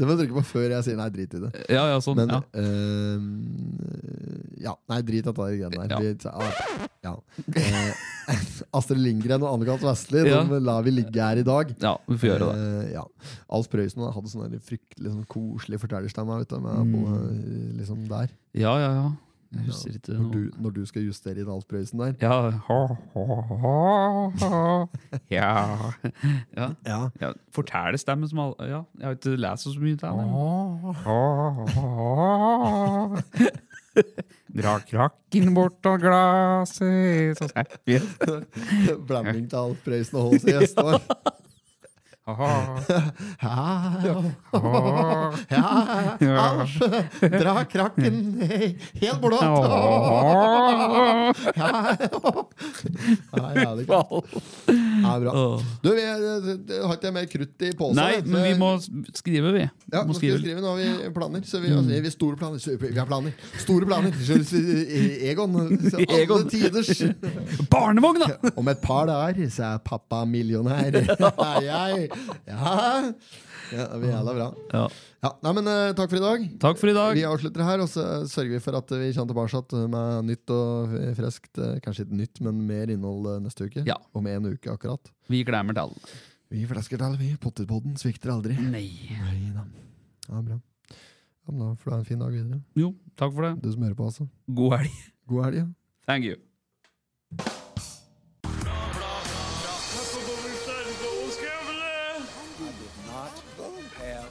C: Det må du trykke på før jeg sier nei, drit i det.
B: Ja, ja, sånn.
C: Men
B: ja.
C: eh, ja. Nei, drit i at det er greiene
B: Ja.
C: der. Vi- ah, ja. Eh, [laughs] Astrid Lindgren og Anne-Kat. Vestli
B: Ja.
C: de lar vi ligge her i dag.
B: ja, vi får gjøre det.
C: Eh, ja. Alf Prøysen hadde sånn der fryktelig sånn koselig fortellerstemme. Vet du, med, på, eh, liksom der.
B: Ja, ja, ja. Mm. Jeg husker ikke
C: Når,
B: noe.
C: du, når du skal justere inn Alf Prøysen der.
B: Ja. Ha, ha, ha, ha. Ja. ja.
C: Ja.
B: ja. Fortellerstemmen som alle Ja, jeg har ikke lest så mye til henne. Dra krakken bort av glasset så skal
C: [laughs] Blanding til Alf Prøysen og H.C.
B: [laughs]
C: Gjestvang. Ja, Alf, dra krakken helt blått! [laughs] Ja, Nei, ja, det kan- ja, bra. Du, vi eh, har ikke mer krutt i posen.
B: Nei,
C: vet du.
B: men vi må s- skrive, vi.
C: ja,
B: må
C: nå skal vi
B: skrive. Mm.
C: skrive, nå har vi planer. Så vi, altså, vi har store planer. Så vi har planer. Store planer. Så, så, Egon. Så alle
B: [laughs] Egon.
C: tiders. [laughs]
B: Barnevogn, da!
C: Om et par dager så er pappa
B: [laughs]
C: millionær. Er jeg? Ja. ja, det blir jævla bra.
B: Ja.
C: Ja, nei, men eh, Takk for i dag.
B: Takk for i dag.
C: Vi avslutter her, og så sørger vi for at vi kommer tilbake igjen med nytt og friskt. eh, Kanskje ikke nytt, men mer innhold eh, neste uke.
B: Ja.
C: Om en uke akkurat.
B: Vi glemmer til alle.
C: Vi flasker til, vi. Potterpodden svikter aldri.
B: Nei.
C: Nei da. Ja, bra. Ja, men da får du ha en fin dag videre.
B: Jo, takk for det.
C: Du som hører på, altså.
B: God helg.
C: God helg. Ja.
B: Thank you.
D: Not have